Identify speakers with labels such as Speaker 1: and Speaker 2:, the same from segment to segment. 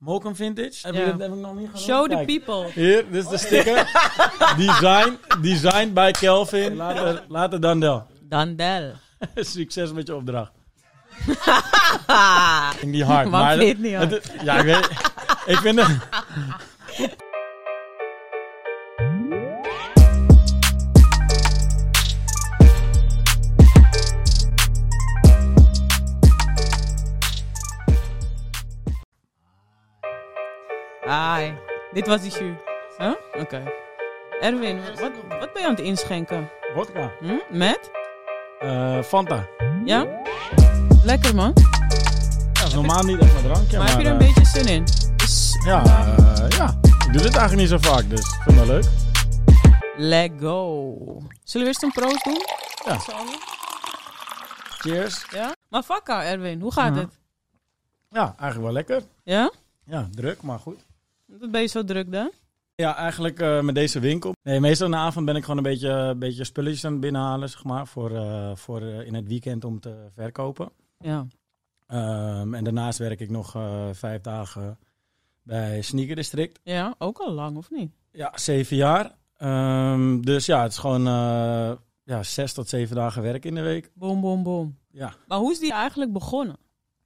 Speaker 1: Mokum Vintage. Heb,
Speaker 2: Ja.
Speaker 1: je, dat heb ik nog niet gedaan.
Speaker 2: Show the
Speaker 1: Oh, Kijk.
Speaker 2: people.
Speaker 1: Hier, dit is de sticker. Design, designed by Kelvin. Later, later Dandel.
Speaker 2: Dandel.
Speaker 1: Succes met je opdracht.
Speaker 2: Ah.
Speaker 1: In die hard.
Speaker 2: Waarom
Speaker 1: maar
Speaker 2: vind je het niet
Speaker 1: het- Ja, ik weet. Ik vind het.
Speaker 2: Ai. Dit was die shoe. Huh? Oké. Erwin, wat, wat ben je aan het inschenken?
Speaker 1: Vodka.
Speaker 2: Hm? Met?
Speaker 1: Eh, Fanta.
Speaker 2: Ja? Lekker man.
Speaker 1: Ja, is normaal niet echt mijn drankje.
Speaker 2: maar heb je er een
Speaker 1: eh,
Speaker 2: beetje zin in? Dus,
Speaker 1: Ja, eh, ja, ik doe dit eigenlijk niet zo vaak, dus ik vind dat leuk.
Speaker 2: let go. Zullen we eerst een proost doen?
Speaker 1: Ja.
Speaker 2: Zo.
Speaker 1: Cheers.
Speaker 2: Ja? Maar vakka, Erwin, hoe gaat
Speaker 1: Ja.
Speaker 2: het?
Speaker 1: Ja, eigenlijk wel lekker.
Speaker 2: Ja?
Speaker 1: Ja, druk, maar goed.
Speaker 2: Wat ben je zo druk dan?
Speaker 1: Ja, eigenlijk eh, met deze winkel. Nee, meestal in de avond ben ik gewoon een beetje, een beetje spulletjes aan het binnenhalen, zeg maar, voor, eh, voor eh, in het weekend om te verkopen.
Speaker 2: Ja.
Speaker 1: Ehm, en daarnaast werk ik nog eh, vijf dagen bij Sneaker District.
Speaker 2: Ja, ook al lang, of niet?
Speaker 1: Ja, zeven jaar. Ehm, dus ja, het is gewoon eh, ja, zes tot zeven dagen werk in de week.
Speaker 2: Boom, boom, boom.
Speaker 1: Ja.
Speaker 2: Maar hoe is die eigenlijk begonnen?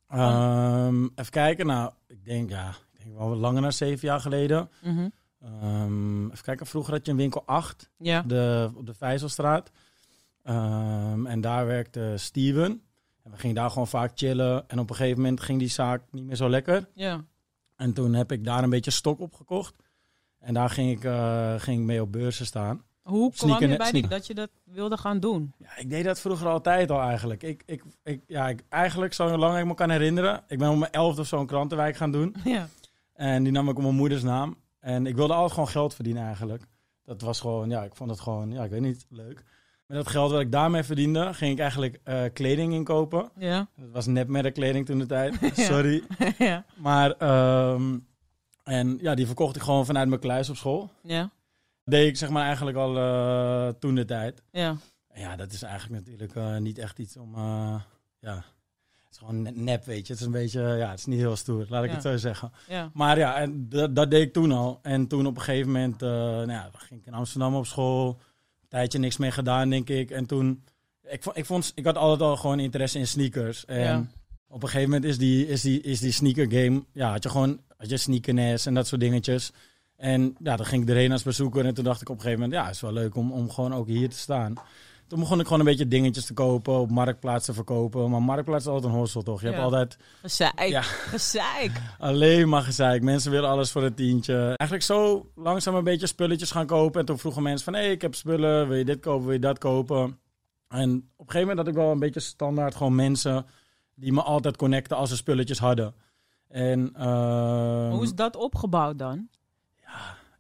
Speaker 1: Ehm, even kijken, nou, ik denk ja, ik denk wel wat langer dan zeven jaar geleden.
Speaker 2: Mhm.
Speaker 1: Ehm, even kijken, vroeger had je een winkel 8
Speaker 2: Ja.
Speaker 1: de, op de Vijzelstraat. Ehm, en daar werkte Steven. En we gingen daar gewoon vaak chillen. En op een gegeven moment ging die zaak niet meer zo lekker.
Speaker 2: Ja.
Speaker 1: En toen heb ik daar een beetje stok op gekocht. En daar ging ik, eh, ging ik mee op beurzen staan.
Speaker 2: Hoe kwam
Speaker 1: Sneaker-
Speaker 2: je bij die,
Speaker 1: sneaker.
Speaker 2: dat je dat wilde gaan doen?
Speaker 1: Ja, ik deed dat vroeger altijd al eigenlijk. Ik, ik, ik, ja, ik, eigenlijk, zolang ik me kan herinneren, ik ben om mijn elfde of zo een krantenwijk gaan doen.
Speaker 2: Ja.
Speaker 1: En die nam ik op mijn moeders naam. En ik wilde altijd gewoon geld verdienen eigenlijk. Dat was gewoon, ja, ik vond het gewoon, ja, ik weet niet, leuk. Met dat geld wat ik daarmee verdiende, ging ik eigenlijk eh, kleding inkopen.
Speaker 2: Ja.
Speaker 1: Dat was nepmerkkleding toen de tijd,
Speaker 2: Ja.
Speaker 1: sorry.
Speaker 2: ja.
Speaker 1: Maar, ehm, en ja, die verkocht ik gewoon vanuit mijn kluis op school.
Speaker 2: Ja.
Speaker 1: Dat deed ik zeg maar eigenlijk al eh, toen de tijd.
Speaker 2: Ja.
Speaker 1: Ja, dat is eigenlijk natuurlijk eh, niet echt iets om. eh, ja, het is gewoon ne- nep, weet je. Het is een beetje. eh, Ja, het is niet heel stoer, laat ik
Speaker 2: Ja.
Speaker 1: het zo zeggen.
Speaker 2: Ja.
Speaker 1: Maar ja, en dat, dat deed ik toen al. En toen op een gegeven moment. eh nou ja, dan ging ik in Amsterdam op school. Een tijdje niks mee gedaan, denk ik. En toen. Ik, vo- ik, vond, ik had altijd al gewoon interesse in sneakers. En
Speaker 2: Ja.
Speaker 1: op een gegeven moment is die, is die, is die sneaker game. Ja, had je gewoon. Had je sneakerness en dat soort dingetjes. En ja, dan ging ik erheen als bezoeker. En toen dacht ik op een gegeven moment, ja, het is wel leuk om, om gewoon ook hier te staan. Toen begon ik gewoon een beetje dingetjes te kopen, op marktplaats te verkopen. Maar marktplaats is altijd een hossel, toch? Je
Speaker 2: Ja.
Speaker 1: hebt altijd
Speaker 2: Gezeik.
Speaker 1: Ja.
Speaker 2: Gezeik.
Speaker 1: alleen maar gezeik. Mensen willen alles voor een tientje. Eigenlijk zo langzaam een beetje spulletjes gaan kopen. En toen vroegen mensen van, hé, hey, ik heb spullen. Wil je dit kopen? Wil je dat kopen? En op een gegeven moment had ik wel een beetje standaard gewoon mensen die me altijd connecten als ze spulletjes hadden. En, ehm,
Speaker 2: Maar hoe is dat opgebouwd dan?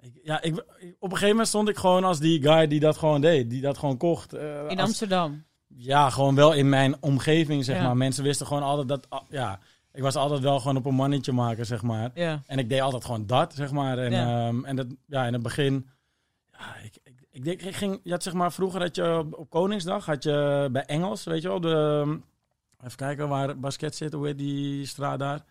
Speaker 1: Ik- ja, ik, ik- op een gegeven moment stond ik gewoon als die guy die dat gewoon deed, die dat gewoon kocht. Eh,
Speaker 2: In
Speaker 1: als-
Speaker 2: Amsterdam.
Speaker 1: ja, gewoon wel in mijn omgeving, zeg
Speaker 2: Ja.
Speaker 1: maar. Mensen wisten gewoon altijd dat, ah, ja, ik was altijd wel gewoon op een mannetje maken, zeg maar.
Speaker 2: Ja.
Speaker 1: En ik deed altijd gewoon dat, zeg maar. En,
Speaker 2: Ja.
Speaker 1: ehm, en dat, ja, in het begin, ja, ik, ik, ik, denk, ik ging, je had zeg maar, vroeger had je op- op Koningsdag, had je bij Engels, weet je wel, de, even kijken waar basket zit, hoe heet die straat daar?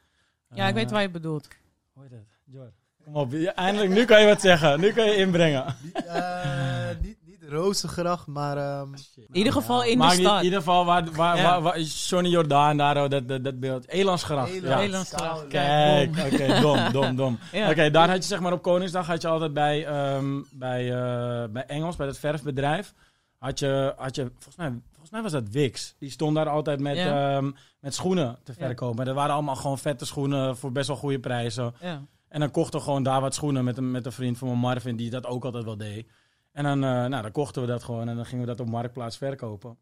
Speaker 2: Ja, ik weet
Speaker 1: Eh,
Speaker 2: waar je het bedoelt.
Speaker 1: hoe heet het? Jor. Kom op, je- eindelijk, nu kan je wat zeggen. Nu kan je inbrengen.
Speaker 3: Niet, eh, niet, niet rozengracht, maar ehm,
Speaker 2: In ieder geval in de
Speaker 1: Nou Maar in
Speaker 2: stad.
Speaker 1: ieder geval, waar, waar,
Speaker 2: Ja.
Speaker 1: waar, waar- Johnny Jordaan, daar, oh, dat, dat, dat beeld. Elansgracht.
Speaker 3: Eland.
Speaker 1: Ja.
Speaker 2: Nederlandsgracht.
Speaker 1: Kijk,
Speaker 2: Kijk,
Speaker 1: oké, dom, dom, dom.
Speaker 2: Ja.
Speaker 1: Oké, daar had je zeg maar op Koningsdag had je altijd bij, ehm, bij, eh, bij Engels, bij dat verfbedrijf, had je, had je volgens, mij, volgens mij was dat Wix. Die stond daar altijd met,
Speaker 2: Ja.
Speaker 1: ehm, met schoenen te
Speaker 2: Ja.
Speaker 1: verkopen. En dat waren allemaal gewoon vette schoenen voor best wel goede prijzen.
Speaker 2: Ja.
Speaker 1: En dan kochten we gewoon daar wat schoenen met een, met een vriend van me, Marvin, die dat ook altijd wel deed. En dan, eh, nou, dan kochten we dat gewoon en dan gingen we dat op Marktplaats verkopen.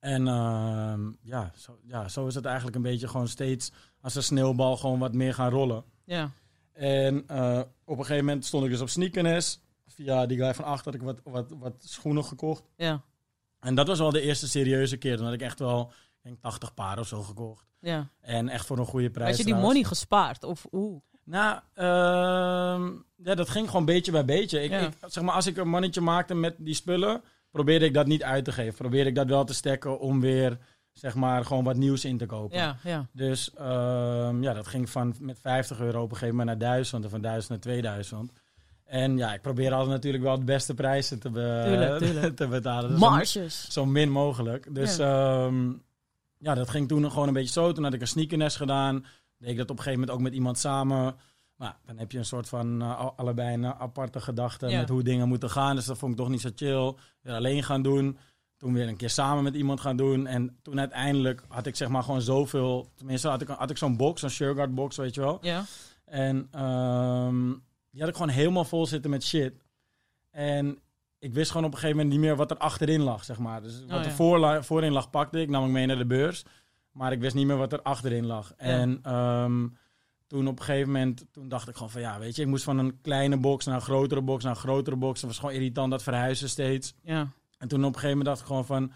Speaker 1: En ehm, ja, zo, ja, zo is het eigenlijk een beetje gewoon steeds als een sneeuwbal gewoon wat meer gaan rollen.
Speaker 2: Ja.
Speaker 1: En eh, op een gegeven moment stond ik dus op Sneakerness. Via die guy van achter had ik wat, wat, wat schoenen gekocht.
Speaker 2: Ja.
Speaker 1: En dat was wel de eerste serieuze keer. Dan had ik echt wel, ik denk 80 paar of zo gekocht.
Speaker 2: Ja.
Speaker 1: En echt voor een goede prijs.
Speaker 2: Had je die
Speaker 1: trouwens.
Speaker 2: money gespaard? Of hoe?
Speaker 1: Nou, ehm, ja, dat ging gewoon beetje bij beetje. Ik,
Speaker 2: Ja.
Speaker 1: ik, zeg maar, als ik een mannetje maakte met die spullen, probeerde ik dat niet uit te geven. Probeerde ik dat wel te stekken om weer zeg maar, gewoon wat nieuws in te kopen.
Speaker 2: Ja, ja.
Speaker 1: Dus ehm, ja, dat ging van met 50 euro op een gegeven moment naar 1000 en van 1000 naar 2000. En ja, ik probeer altijd natuurlijk wel de beste prijzen te, be-
Speaker 2: Tuurlijk, tuurlijk.
Speaker 1: te betalen. Dus zo,
Speaker 2: Marges.
Speaker 1: zo min mogelijk. Dus ja. ja, dat ging toen gewoon een beetje zo. Toen had ik een sneakernest gedaan. Deed ik dat op een gegeven moment ook met iemand samen. Maar dan heb je een soort van eh, al- allebei een eh, aparte gedachte
Speaker 2: Ja.
Speaker 1: met hoe dingen moeten gaan. Dus dat vond ik toch niet zo chill. Weer alleen gaan doen. Toen weer een keer samen met iemand gaan doen. En toen uiteindelijk had ik zeg maar gewoon zoveel. Tenminste, had ik, had ik zo'n box, zo'n Sureguard box, weet je wel.
Speaker 2: Ja.
Speaker 1: En ehm, die had ik gewoon helemaal vol zitten met shit. En ik wist gewoon op een gegeven moment niet meer wat er achterin lag, zeg maar. Dus wat
Speaker 2: ja.
Speaker 1: er voorla- voorin lag, pakte ik, nam ik mee naar de beurs. Maar ik wist niet meer wat er achterin lag. En ehm, toen op een gegeven moment, toen dacht ik gewoon van ja, weet je, ik moest van een kleine box naar een grotere box naar een grotere box. Dat was gewoon irritant, dat verhuizen steeds.
Speaker 2: Ja.
Speaker 1: En toen op een gegeven moment dacht ik gewoon van...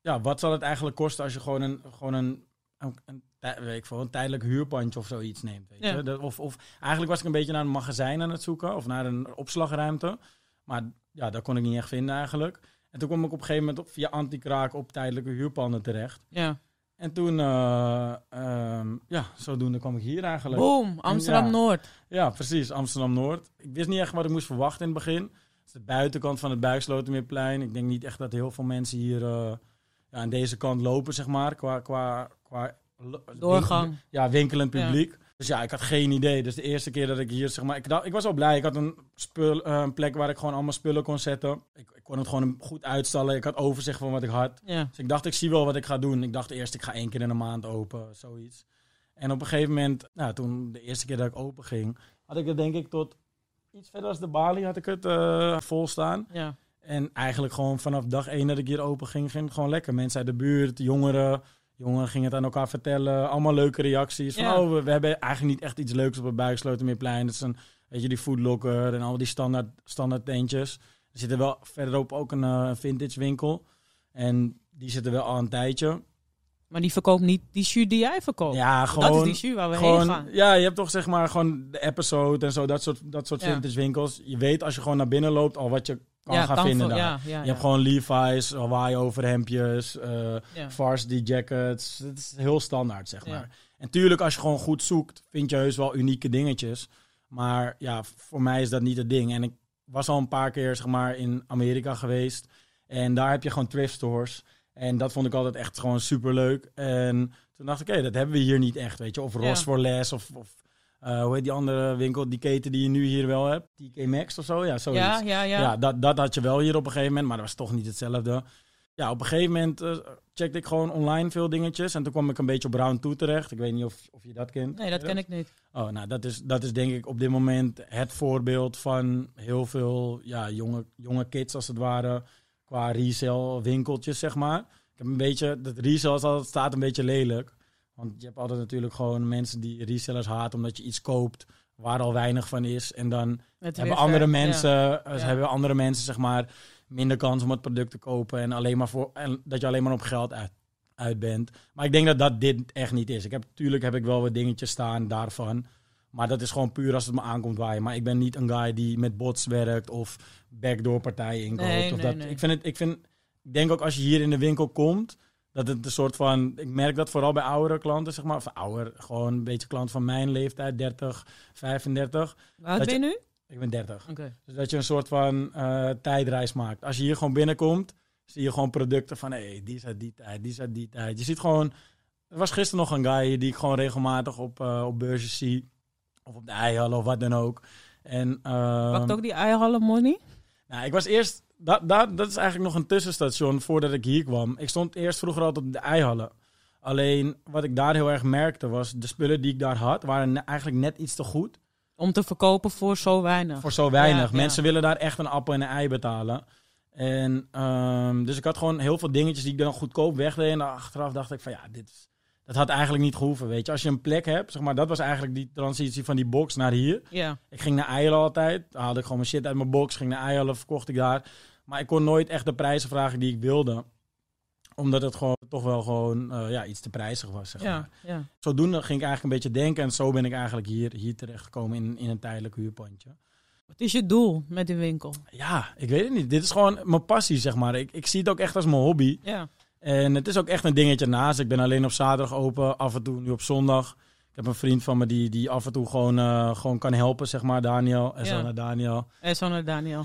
Speaker 1: Ja, wat zal het eigenlijk kosten als je gewoon een, gewoon een, een, een tij- weet ik veel, een tijdelijk huurpandje of zoiets neemt? Weet
Speaker 2: Ja.
Speaker 1: je? Dat- of, of eigenlijk was ik een beetje naar een magazijn aan het zoeken of naar een opslagruimte. Maar ja, dat kon ik niet echt vinden eigenlijk. En toen kwam ik op een gegeven moment op, via Antikraak op tijdelijke huurpanden terecht.
Speaker 2: ja.
Speaker 1: En toen, eh, ehm, ja, zodoende kwam ik hier eigenlijk.
Speaker 2: Boom, Amsterdam-Noord.
Speaker 1: Ja, precies. Amsterdam-Noord. Ik wist niet echt wat ik moest verwachten in het begin. Het is de buitenkant van het Buikslotermeerplein. Ik denk niet echt dat heel veel mensen hier eh, ja, aan deze kant lopen, zeg maar. Qua, qua, qua lo-
Speaker 2: Doorgang.
Speaker 1: ja, winkelend
Speaker 2: Ja.
Speaker 1: publiek. Dus ja, ik had geen idee. Dus de eerste keer dat ik hier, zeg maar, ik, dacht, ik was al blij. Ik had een, spul, eh, een plek waar ik gewoon allemaal spullen kon zetten. Ik, ik kon het gewoon goed uitstallen. Ik had overzicht van wat ik had.
Speaker 2: Ja.
Speaker 1: Dus ik dacht, ik zie wel wat ik ga doen. Ik dacht eerst, ik ga één keer in een maand open, zoiets. En op een gegeven moment, nou, toen de eerste keer dat ik open ging, had ik het denk ik tot iets verder als de balie had ik het eh, vol staan.
Speaker 2: Ja.
Speaker 1: En eigenlijk gewoon vanaf dag één dat ik hier open ging, ging het gewoon lekker. Mensen uit de buurt, jongeren, jongeren gingen het aan elkaar vertellen. Allemaal leuke reacties. Van,
Speaker 2: Ja.
Speaker 1: oh, we, we hebben eigenlijk niet echt iets leuks op het Buikslotermeerplein. Dat is een, weet je, die foodlocker en al die standaard, standaard tentjes. Er zit er wel verderop ook een eh, vintage winkel. En die zitten wel al een tijdje.
Speaker 2: Maar die verkoopt niet die jus die jij verkoopt.
Speaker 1: Ja, gewoon...
Speaker 2: Oh, dat is die jus waar we heen
Speaker 1: Gewoon,
Speaker 2: gaan.
Speaker 1: ja, je hebt toch zeg maar gewoon de episode en zo, dat soort, dat soort
Speaker 2: Ja.
Speaker 1: vintage winkels. Je weet als je gewoon naar binnen loopt al wat je kan
Speaker 2: ja,
Speaker 1: gaan
Speaker 2: kan
Speaker 1: vinden daar.
Speaker 2: voor- Ja, ja,
Speaker 1: Je
Speaker 2: ja.
Speaker 1: hebt gewoon Levi's, Hawaii overhemdjes, eh
Speaker 2: Ja.
Speaker 1: varsity jackets. Dat is heel standaard, zeg
Speaker 2: Ja.
Speaker 1: maar. En tuurlijk, als je gewoon goed zoekt, vind je heus wel unieke dingetjes. Maar ja, voor mij is dat niet het ding. En ik was al een paar keer, zeg maar, in Amerika geweest. En daar heb je gewoon thrift stores. En dat vond ik altijd echt gewoon superleuk. En toen dacht ik, hé, dat hebben we hier niet echt, weet je. Of
Speaker 2: Ja.
Speaker 1: Ross for Less, of... of eh, hoe heet die andere winkel, die keten die je nu hier wel hebt? TK Maxx of zo? Ja, zoiets.
Speaker 2: Ja, ja, ja.
Speaker 1: Ja, dat, dat had je wel hier op een gegeven moment, maar dat was toch niet hetzelfde. Ja, op een gegeven moment eh, checkte ik gewoon online veel dingetjes. En toen kwam ik een beetje op Round 2 terecht. Ik weet niet of, of je dat kent.
Speaker 2: Nee, dat ken ik niet.
Speaker 1: Oh, nou, dat is, dat is denk ik op dit moment het voorbeeld van heel veel ja, jonge, jonge kids, als het ware, qua resale winkeltjes, zeg maar. Ik heb een beetje, dat resale is altijd, staat een beetje lelijk. Want je hebt altijd natuurlijk gewoon mensen die resellers haat omdat je iets koopt waar al weinig van is. En dan
Speaker 2: Het
Speaker 1: hebben
Speaker 2: weer
Speaker 1: andere
Speaker 2: ver-
Speaker 1: mensen, eh,
Speaker 2: Ja.
Speaker 1: hebben andere mensen zeg maar minder kans om het product te kopen en alleen maar voor en dat je alleen maar op geld uit, uit bent. Maar ik denk dat dat dit echt niet is. Ik heb natuurlijk heb ik wel wat dingetjes staan daarvan, maar dat is gewoon puur als het me aankomt waaien. Maar ik ben niet een guy die met bots werkt of backdoor partijen inkoopt
Speaker 2: Nee,
Speaker 1: of
Speaker 2: nee,
Speaker 1: dat.
Speaker 2: nee.
Speaker 1: Ik vind het, ik vind, ik denk ook als je hier in de winkel komt. Dat het een soort van, ik merk dat vooral bij oudere klanten, zeg maar. Of ouder, gewoon een beetje klant van mijn leeftijd, 30, 35.
Speaker 2: Ja. Hoe oud
Speaker 1: Dat
Speaker 2: ben je nu?
Speaker 1: Ik ben 30.
Speaker 2: Oké.
Speaker 1: Dus dat je een soort van eh, tijdreis maakt. Als je hier gewoon binnenkomt, zie je gewoon producten van... hé, hey, die is uit die tijd, die is uit die tijd. Je ziet gewoon... Er was gisteren nog een guy die ik gewoon regelmatig op, eh op beurzen zie. Of op de Eihal of wat dan ook. En, ehm,
Speaker 2: Pakt ook die eierhallen money?
Speaker 1: nou, ik was eerst... Dat, dat, dat is eigenlijk nog een tussenstation voordat ik hier kwam. Ik stond eerst vroeger altijd op de Eihallen. Alleen wat ik daar heel erg merkte was... de spullen die ik daar had, waren ne- eigenlijk net iets te goed...
Speaker 2: Om te verkopen voor zo weinig.
Speaker 1: Voor zo weinig.
Speaker 2: Ja,
Speaker 1: Mensen willen daar echt een appel en een ei betalen. En, ehm, dus ik had gewoon heel veel dingetjes die ik dan goedkoop wegdeed. En achteraf dacht ik van ja, dit, is- dat had eigenlijk niet gehoeven. Weet je, als je een plek hebt, zeg maar, dat was eigenlijk die transitie van die box naar hier.
Speaker 2: Ja.
Speaker 1: Ik ging naar Eilen altijd. Dan haalde ik gewoon mijn shit uit mijn box. Ging naar Eilen, verkocht ik daar. Maar ik kon nooit echt de prijzen vragen die ik wilde. Omdat het gewoon toch wel gewoon eh, ja, iets te prijzig was. Zeg maar.
Speaker 2: Ja. ja.
Speaker 1: Zodoende ging ik eigenlijk een beetje denken. En zo ben ik eigenlijk hier, hier terechtgekomen in, in een tijdelijk huurpandje.
Speaker 2: Wat is je doel met die winkel?
Speaker 1: Ja, ik weet het niet. Dit is gewoon mijn passie, zeg maar. Ik, ik zie het ook echt als mijn hobby.
Speaker 2: Ja.
Speaker 1: En het is ook echt een dingetje naast. Ik ben alleen op zaterdag open, af en toe nu op zondag. Ik heb een vriend van me die, die af en toe gewoon, eh, gewoon kan helpen, zeg maar, Daniel. En zo
Speaker 2: Ja.
Speaker 1: naar Daniel
Speaker 2: Eh, zo naar Daniel.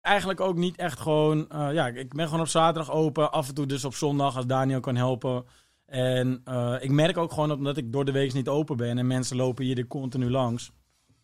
Speaker 1: eigenlijk ook niet echt gewoon. eh, ja, ik- ik ben gewoon op zaterdag open. Af en toe dus op zondag als Daniel kan helpen. En eh, ik merk ook gewoon omdat ik door de week niet open ben en mensen lopen hier er continu langs.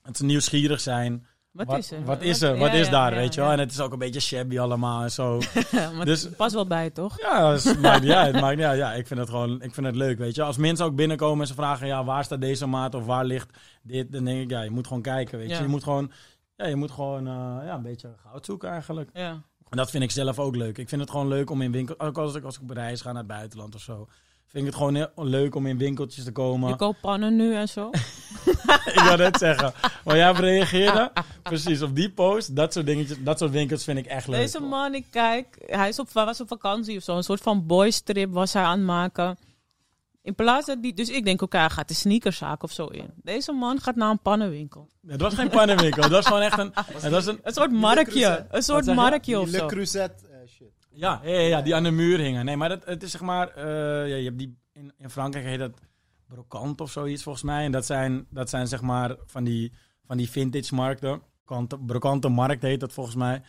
Speaker 1: Dat ze nieuwsgierig zijn.
Speaker 2: Wat, is er?
Speaker 1: Wat is er? Wat
Speaker 2: Ja,
Speaker 1: is
Speaker 2: ja,
Speaker 1: daar?
Speaker 2: ja,
Speaker 1: weet je
Speaker 2: ja.
Speaker 1: wel? En het is ook een beetje shabby allemaal en zo.
Speaker 2: maar
Speaker 1: Dus-
Speaker 2: het past wel bij, toch?
Speaker 1: ja, dus, maakt niet uit. Maakt niet uit. Ja, ik vind het gewoon ik vind het leuk. Weet je? wel. Als mensen ook binnenkomen en ze vragen: ja, waar staat deze maat of waar ligt dit? Dan denk ik: ja, je moet gewoon kijken. Weet je?
Speaker 2: Ja.
Speaker 1: je moet gewoon, ja, je moet gewoon eh, ja, een beetje goud zoeken eigenlijk.
Speaker 2: Ja.
Speaker 1: En dat vind ik zelf ook leuk. Ik vind het gewoon leuk om in winkels... Ook als ik, als ik op reis ga naar het buitenland of zo... Vind ik het gewoon heel leuk om in winkeltjes te
Speaker 2: Je
Speaker 1: komen.
Speaker 2: koopt pannen nu en zo.
Speaker 1: ik wou net zeggen. Maar jij hebt reageerde. Precies, op die post. Dat soort dingetjes, dat soort winkels vind ik echt leuk.
Speaker 2: Deze man, ik kijk, hij is op, was op vakantie of zo. Een soort van boys trip was hij aan het maken. In plaats dat die, dus ik denk, oké, hij gaat de sneakerszaak of zo in. Deze man gaat naar een pannenwinkel.
Speaker 1: Het was geen pannenwinkel. dat was gewoon echt een... Het was een
Speaker 2: Een soort
Speaker 3: Cruze.
Speaker 2: markje. Een soort
Speaker 1: zeg je?
Speaker 2: markje of
Speaker 3: Die Le
Speaker 2: zo.
Speaker 3: Creuset eh, shit.
Speaker 1: ja, ja, ja, ja, die aan de muur hingen. Nee, maar dat, het is zeg maar... eh, ja, je hebt die, in, in Frankrijk heet dat brokant of zoiets volgens mij. En dat zijn, dat zijn zeg maar van die, van die vintage markten. Kante- Brokante markt heet dat volgens mij.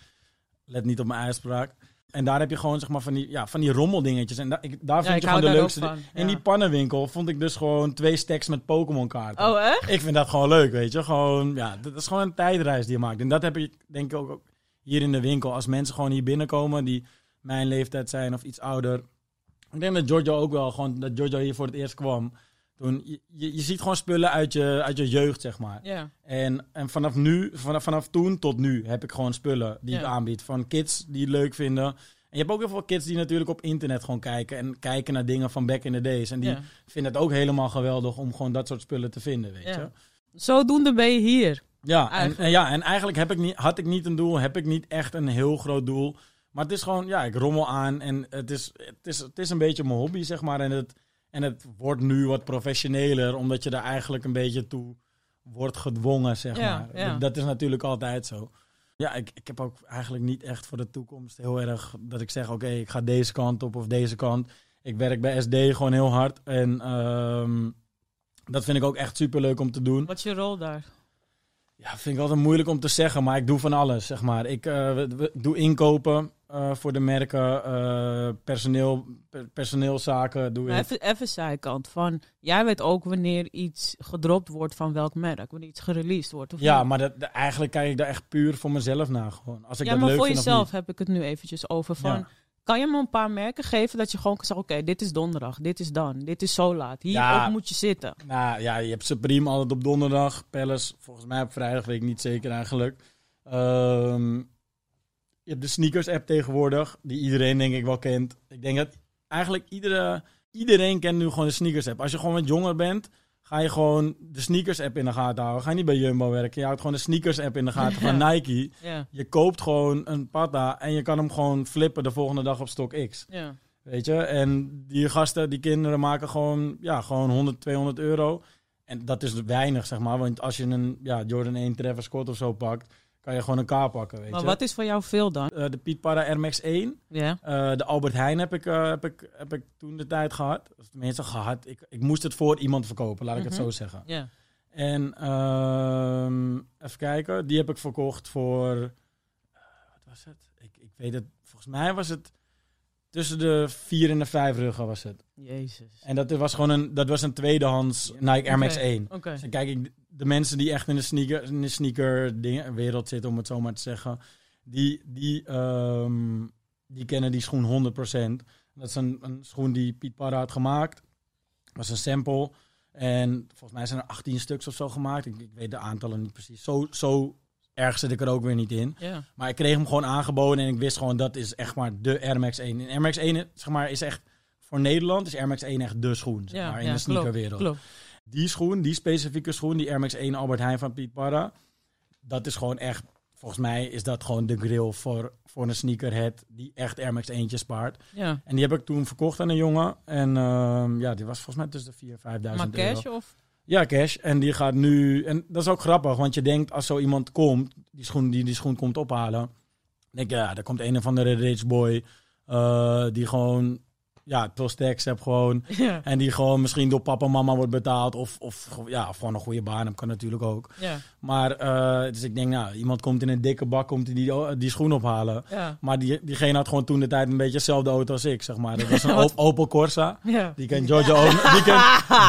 Speaker 1: Let niet op mijn uitspraak. En daar heb je gewoon zeg maar van die, ja, van die rommeldingetjes. En da- ik, daar
Speaker 2: Ja,
Speaker 1: vind
Speaker 2: ik
Speaker 1: je
Speaker 2: hou
Speaker 1: gewoon de
Speaker 2: daar
Speaker 1: leukste.
Speaker 2: ook van,
Speaker 1: di-
Speaker 2: ja.
Speaker 1: In die pannenwinkel vond ik dus gewoon twee stacks met Pokémon kaarten.
Speaker 2: Oh, echt?
Speaker 1: Ik vind dat gewoon leuk, weet je. Gewoon, ja, dat is gewoon een tijdreis die je maakt. En dat heb ik denk ik ook ook hier in de winkel. Als mensen gewoon hier binnenkomen die mijn leeftijd zijn of iets ouder. Ik denk dat Giorgio ook wel, gewoon dat Giorgio hier voor het eerst kwam. Toen, je, je, je ziet gewoon spullen uit je, uit je jeugd, zeg maar.
Speaker 2: Ja.
Speaker 1: En, en vanaf nu, vanaf, vanaf toen tot nu heb ik gewoon spullen die ik
Speaker 2: Ja.
Speaker 1: aanbied. Van kids die het leuk vinden. En je hebt ook heel veel kids die natuurlijk op internet gewoon kijken. En kijken naar dingen van back in the days. En die
Speaker 2: ja.
Speaker 1: vinden het ook helemaal geweldig om gewoon dat soort spullen te vinden, weet
Speaker 2: Ja.
Speaker 1: je.
Speaker 2: Zodoende ben je hier.
Speaker 1: Ja, en,
Speaker 2: Eigenlijk.
Speaker 1: en ja, en eigenlijk heb ik niet, had ik niet een doel, heb ik niet echt een heel groot doel. Maar het is gewoon, ja, ik rommel aan en het is, het is, het is een beetje mijn hobby, zeg maar. En het, en het wordt nu wat professioneler, omdat je er eigenlijk een beetje toe wordt gedwongen, zeg
Speaker 2: Ja,
Speaker 1: maar.
Speaker 2: ja.
Speaker 1: Dat, dat is natuurlijk altijd zo. Ja, ik, ik heb ook eigenlijk niet echt voor de toekomst heel erg dat ik zeg, oké, ik ga deze kant op of deze kant. Ik werk bij SD gewoon heel hard en ehm, dat vind ik ook echt super leuk om te doen.
Speaker 2: Wat is je rol daar?
Speaker 1: Ja, vind ik altijd moeilijk om te zeggen, maar ik doe van alles, zeg maar. Ik eh, we- we- doe inkopen eh, voor de merken, eh, personeel, per- personeelszaken doe
Speaker 2: Maar
Speaker 1: ik.
Speaker 2: even, even zijkant van, jij weet ook wanneer iets gedropt wordt van welk merk. Wanneer iets gereleased wordt. Of
Speaker 1: Ja,
Speaker 2: niet?
Speaker 1: maar dat, dat- eigenlijk kijk ik daar echt puur voor mezelf naar, gewoon. Als ik
Speaker 2: ja,
Speaker 1: dat
Speaker 2: maar
Speaker 1: leuk
Speaker 2: voor
Speaker 1: vind of
Speaker 2: jezelf heb ik het nu eventjes over
Speaker 1: niet. Ja.
Speaker 2: van... Kan je me een paar merken geven dat je gewoon kan zeggen... Oké, dit is donderdag, dit is dan, dit is zo laat. Hierop
Speaker 1: Ja.
Speaker 2: moet je zitten.
Speaker 1: Nou ja, je hebt Supreme altijd op donderdag. Palace volgens mij op vrijdag, weet ik niet zeker eigenlijk. Ehm, je hebt de sneakers app tegenwoordig, die iedereen denk ik wel kent. Ik denk dat eigenlijk iedere, iedereen kent nu gewoon de sneakers app. Als je gewoon wat jonger bent, ga je gewoon de sneakers app in de gaten houden. Ga je niet bij Jumbo werken, je houdt gewoon de sneakers app in de gaten van Nike.
Speaker 2: Ja,
Speaker 1: Je koopt gewoon een pata en je kan hem gewoon flippen de volgende dag op stok X.
Speaker 2: ja.
Speaker 1: Weet je, en die gasten, die kinderen maken gewoon, ja, gewoon 100, 200 euro. En dat is weinig, zeg maar. Want als je een ja, Jordan 1 Travis Scott of zo pakt, kan je gewoon een K pakken, weet
Speaker 2: Maar
Speaker 1: je.
Speaker 2: wat is voor jou veel dan?
Speaker 1: Eh, de Piet Para Air Max 1,
Speaker 2: Ja,
Speaker 1: eh, de Albert Heijn heb ik, eh, heb, ik, heb ik toen de tijd gehad. Of tenminste gehad. Ik, ik moest het voor iemand verkopen, laat ik
Speaker 2: Mhm.
Speaker 1: het zo zeggen.
Speaker 2: ja.
Speaker 1: En ehm, even kijken, die heb ik verkocht voor. eh, wat was het? Ik, ik weet het, volgens mij was het tussen de 4 en de 5 ruggen was het.
Speaker 2: Jezus.
Speaker 1: En dat was gewoon een, dat was een tweedehands Nike Air Max
Speaker 2: Oké.
Speaker 1: 1.
Speaker 2: Oké.
Speaker 1: Dus dan kijk ik de mensen die echt in de sneaker, in de sneaker dingen, wereld zitten, om het zo maar te zeggen. Die, die, ehm, die kennen die schoen 100%. Dat is een, een schoen die Piet Parra had gemaakt. Dat was een sample. En volgens mij zijn er 18 stuks of zo gemaakt. Ik, ik weet de aantallen niet precies. Zo, zo erg zit ik er ook weer niet in.
Speaker 2: Ja.
Speaker 1: Maar ik kreeg hem gewoon aangeboden en ik wist gewoon dat is echt maar de Air Max 1. En Air Max 1 zeg maar, is echt voor Nederland is Air Max 1 echt de schoen zeg
Speaker 2: Ja,
Speaker 1: maar, in
Speaker 2: ja,
Speaker 1: de
Speaker 2: klopt,
Speaker 1: sneakerwereld.
Speaker 2: Klopt.
Speaker 1: Die schoen, die specifieke schoen, die Air Max 1 Albert Heijn van Piet Parra, dat is gewoon echt, volgens mij is dat gewoon de grill voor, voor een sneakerhead die echt Air Max 1 spaart.
Speaker 2: Ja.
Speaker 1: En die heb ik toen verkocht aan een jongen en ehm, ja, die was volgens mij tussen de 4.000 en 5.000
Speaker 2: Maar
Speaker 1: euro.
Speaker 2: cash of...
Speaker 1: Ja, cash. En die gaat nu. En dat is ook grappig, want je denkt als zo iemand komt, die schoen, die, die schoen komt ophalen. Denk je, ja, er komt een of andere rich boy. eh, die gewoon ja, plus tax heb gewoon.
Speaker 2: Ja.
Speaker 1: En die gewoon misschien door papa en mama wordt betaald. Of, of, ja, of gewoon een goede baan heb, kan natuurlijk ook.
Speaker 2: Ja.
Speaker 1: Maar eh, dus ik denk, nou, iemand komt in een dikke bak, komt die, die, die schoen ophalen.
Speaker 2: Ja.
Speaker 1: Maar die, diegene had gewoon toen de tijd een beetje dezelfde auto als ik, zeg maar. Dat was een Op- Opel Corsa.
Speaker 2: Ja.
Speaker 1: Die kent Giorgio ook. Die kent,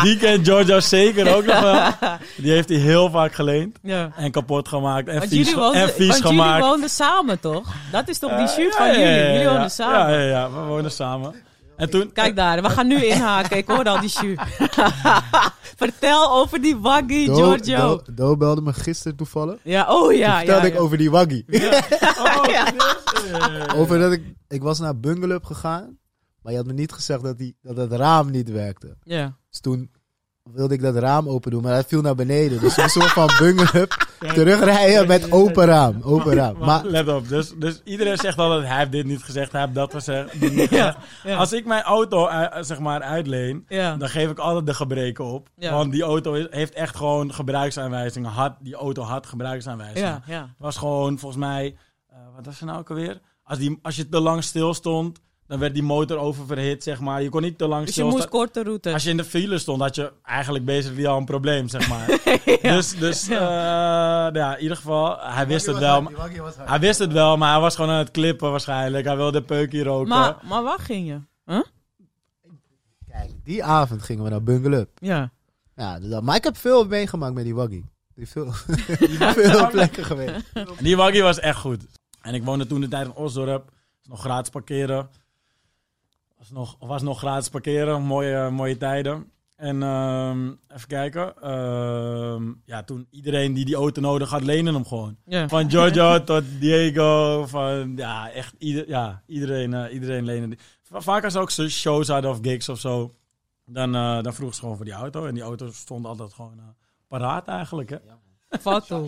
Speaker 1: die kent Giorgio zeker ook nog wel. Die heeft hij heel vaak geleend.
Speaker 2: ja.
Speaker 1: En kapot gemaakt. En
Speaker 2: Want
Speaker 1: vies,
Speaker 2: jullie
Speaker 1: ge-
Speaker 2: woonden,
Speaker 1: en vies
Speaker 2: want jullie
Speaker 1: gemaakt.
Speaker 2: woonden samen, toch? Dat is toch die
Speaker 1: Eh,
Speaker 2: shoot
Speaker 1: ja,
Speaker 2: van
Speaker 1: ja,
Speaker 2: jullie?
Speaker 1: ja,
Speaker 2: jullie
Speaker 1: ja.
Speaker 2: woonden samen.
Speaker 1: Ja, ja, ja, we wonen samen. En toen...
Speaker 2: Kijk daar, we gaan nu inhaken. Ik hoor al die shoe. Vertel over die waggy, Giorgio.
Speaker 3: Do, Do belde me gisteren toevallig.
Speaker 2: Ja, oh ja.
Speaker 3: Vertelde
Speaker 2: ja,
Speaker 3: ik
Speaker 2: ja.
Speaker 3: over die waggy.
Speaker 1: Oh,
Speaker 2: Ja.
Speaker 3: Over dat ik, ik was naar Bungalub gegaan, maar je had me niet gezegd dat, die, dat het raam niet werkte.
Speaker 2: Ja.
Speaker 3: Dus toen wilde ik dat raam open doen, maar hij viel naar beneden. Dus een soort van Bungalub terugrijden met open raam. Open raam.
Speaker 1: Maar
Speaker 3: Maar
Speaker 1: let op, dus, dus iedereen zegt altijd, hij heeft dit niet gezegd, hij heeft dat gezegd. dit niet
Speaker 2: Ja,
Speaker 1: gezegd.
Speaker 2: ja.
Speaker 1: Als ik mijn auto eh, zeg maar uitleen,
Speaker 2: Ja.
Speaker 1: dan geef ik altijd de gebreken op.
Speaker 2: Ja.
Speaker 1: Want die auto is- heeft echt gewoon gebruiksaanwijzingen. Had, die auto had gebruiksaanwijzingen.
Speaker 2: Ja, ja.
Speaker 1: was gewoon volgens mij, eh, wat was er nou ook alweer? Als, die, als je te lang stil stond, dan werd die motor oververhit, zeg maar. Je kon niet te lang
Speaker 2: Dus je
Speaker 1: stilstaan.
Speaker 2: moest korte route.
Speaker 1: Als je in de file stond, had je eigenlijk basically al een probleem, zeg maar. Dus, dus eh, nou ja, in ieder geval, hij wist het wel. maar- Hij wist het wel, maar hij was gewoon aan het klippen waarschijnlijk. Hij wilde peukie roken.
Speaker 2: maar, maar waar ging je? Huh?
Speaker 3: Kijk, die avond gingen we naar Bungalub.
Speaker 2: Ja.
Speaker 3: Ja, dus dat- maar ik heb veel meegemaakt met die waggy. Die veel, veel plekken geweest.
Speaker 1: En die waggie was echt goed. En ik woonde toen de tijd in Osdorp. Was nog gratis parkeren. Was nog, was nog gratis parkeren. Mooie, eh, mooie tijden. En ehm, even kijken. Ehm, ja, toen iedereen die die auto nodig had, lenen hem gewoon.
Speaker 2: Ja.
Speaker 1: Van Giorgio tot Diego. Van, ja, echt ieder, ja, iedereen, eh, iedereen lenen. die. Va- Vaak als ze ook zo- shows hadden of gigs of zo. Dan, eh, dan vroegen ze gewoon voor die auto. En die auto stond altijd gewoon eh, paraat eigenlijk. Hè?
Speaker 2: Fatal.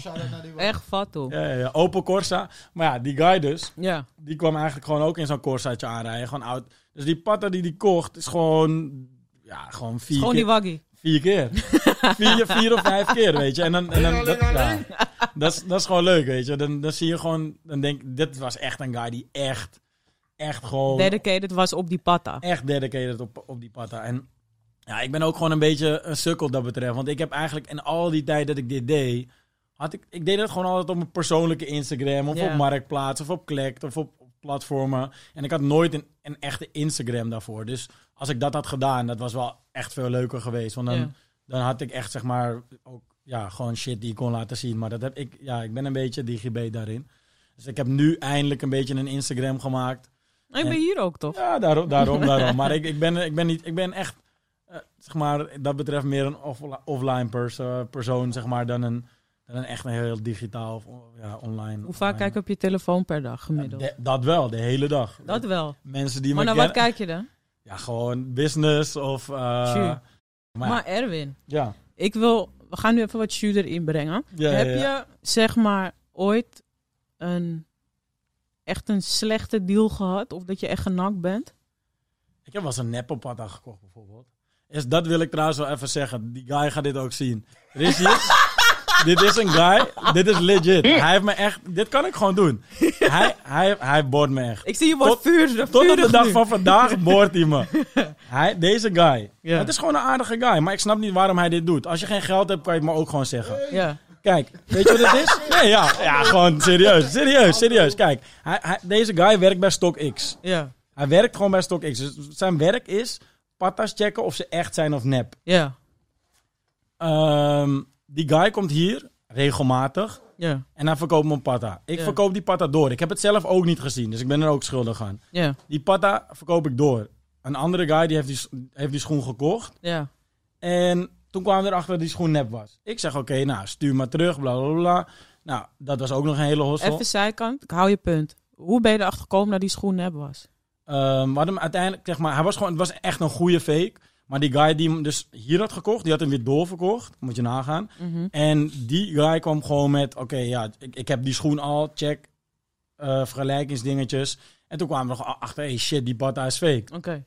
Speaker 2: Echt fatal.
Speaker 1: Ja, ja, ja. Opel Corsa. Maar ja, die guy dus.
Speaker 2: Ja.
Speaker 1: Die kwam eigenlijk gewoon ook in zo'n Corsaatje aanrijden. Gewoon oud. Dus die patta die die kocht is gewoon... Ja, gewoon vier
Speaker 2: Gewoon die
Speaker 1: keer.
Speaker 2: waggy.
Speaker 1: Vier keer. vier, vier of vijf keer, weet je. En dan... En dan dat, ja. dat, is, dat is gewoon leuk, weet je. Dan, dan zie je gewoon... Dan denk ik, dit was echt een guy die echt... Echt gewoon...
Speaker 2: Dedicated was op die patta.
Speaker 1: Echt dedicated op, op die patta. En ja, ik ben ook gewoon een beetje een sukkel dat betreft. Want ik heb eigenlijk in al die tijd dat ik dit deed... Had ik, ik deed dat gewoon altijd op mijn persoonlijke Instagram... of
Speaker 2: Ja.
Speaker 1: op Marktplaats of op Klekt of op op platformen. En ik had nooit een, een echte Instagram daarvoor. Dus als ik dat had gedaan, dat was wel echt veel leuker geweest. Want dan,
Speaker 2: Ja.
Speaker 1: dan had ik echt, zeg maar, ook ja, gewoon shit die ik kon laten zien. Maar dat heb ik, ja, ik ben een beetje digibet daarin. Dus ik heb nu eindelijk een beetje een Instagram gemaakt...
Speaker 2: En ik ben hier ook, toch?
Speaker 1: Ja, daarom, daarom, daarom. Maar ik, ik, ben, ik, ben niet, ik ben echt, eh, zeg maar, dat betreft meer een off- offline perso- persoon, zeg maar, dan een, dan een echt een heel digitaal of on- ja, online.
Speaker 2: Hoe vaak kijk
Speaker 1: online-
Speaker 2: je op je telefoon per dag gemiddeld?
Speaker 1: De- dat wel, de hele dag.
Speaker 2: dat wel.
Speaker 1: Mensen die
Speaker 2: Maar
Speaker 1: me
Speaker 2: naar wat
Speaker 1: kennen.
Speaker 2: kijk je dan?
Speaker 1: Ja, gewoon business of... eh,
Speaker 2: Tjoe.
Speaker 1: maar,
Speaker 2: Maar Erwin,
Speaker 1: ja.
Speaker 2: ik wil... We gaan nu even wat shoe erin brengen.
Speaker 1: Ja, ja,
Speaker 2: Heb
Speaker 1: ja.
Speaker 2: je, zeg maar, ooit een echt een slechte deal gehad? Of dat je echt genakt bent?
Speaker 1: Ik heb wel eens een neppelpatta gekocht, bijvoorbeeld. Is, dat wil ik trouwens wel even zeggen. Die guy gaat dit ook zien. Er is hier- dit is een guy. Dit is legit. Hij heeft me echt... Dit kan ik gewoon doen. Hij, hij, hij boort me echt.
Speaker 2: Ik zie je wordt
Speaker 1: Tot-
Speaker 2: vuur,
Speaker 1: Tot op de
Speaker 2: vurig
Speaker 1: dag
Speaker 2: nu.
Speaker 1: van vandaag boort hij me. Hij, deze guy.
Speaker 2: Ja.
Speaker 1: Het is gewoon een aardige guy. Maar ik snap niet waarom hij dit doet. Als je geen geld hebt, kan je het me ook gewoon zeggen.
Speaker 2: Ja.
Speaker 1: Kijk, weet je wat het is? Nee, ja. Ja, gewoon serieus. Serieus, serieus. Kijk, hij, hij- deze guy werkt bij StockX.
Speaker 2: Ja.
Speaker 1: Hij werkt gewoon bij StockX. Dus zijn werk is patas checken of ze echt zijn of nep.
Speaker 2: Ja.
Speaker 1: Ehm, die guy komt hier regelmatig
Speaker 2: Ja.
Speaker 1: en hij verkoopt me een patta. Ik
Speaker 2: Ja.
Speaker 1: verkoop die patta door. Ik heb het zelf ook niet gezien, dus ik ben er ook schuldig aan.
Speaker 2: Ja.
Speaker 1: Die patta verkoop ik door. Een andere guy die heeft die, s- heeft die schoen gekocht
Speaker 2: Ja.
Speaker 1: en toen kwamen we erachter dat die schoen nep was. Ik zeg oké, nou stuur maar terug, bla bla bla. Nou, dat was ook nog een hele hossel.
Speaker 2: Even zijkant. Ik hou je punt. Hoe ben je erachter gekomen dat die schoen nep was?
Speaker 1: Ehm, we hadden hem uiteindelijk, zeg maar, hij was gewoon, het was echt een goede fake. Maar die guy die hem dus hier had gekocht, die had hem weer doorverkocht. Moet je nagaan.
Speaker 2: Mhm.
Speaker 1: En die guy kwam gewoon met, oké, ja, ik, ik heb die schoen al, check. eh, vergelijkingsdingetjes. En toen kwamen we nog achter, hey shit, die bata is fake.
Speaker 2: Oké.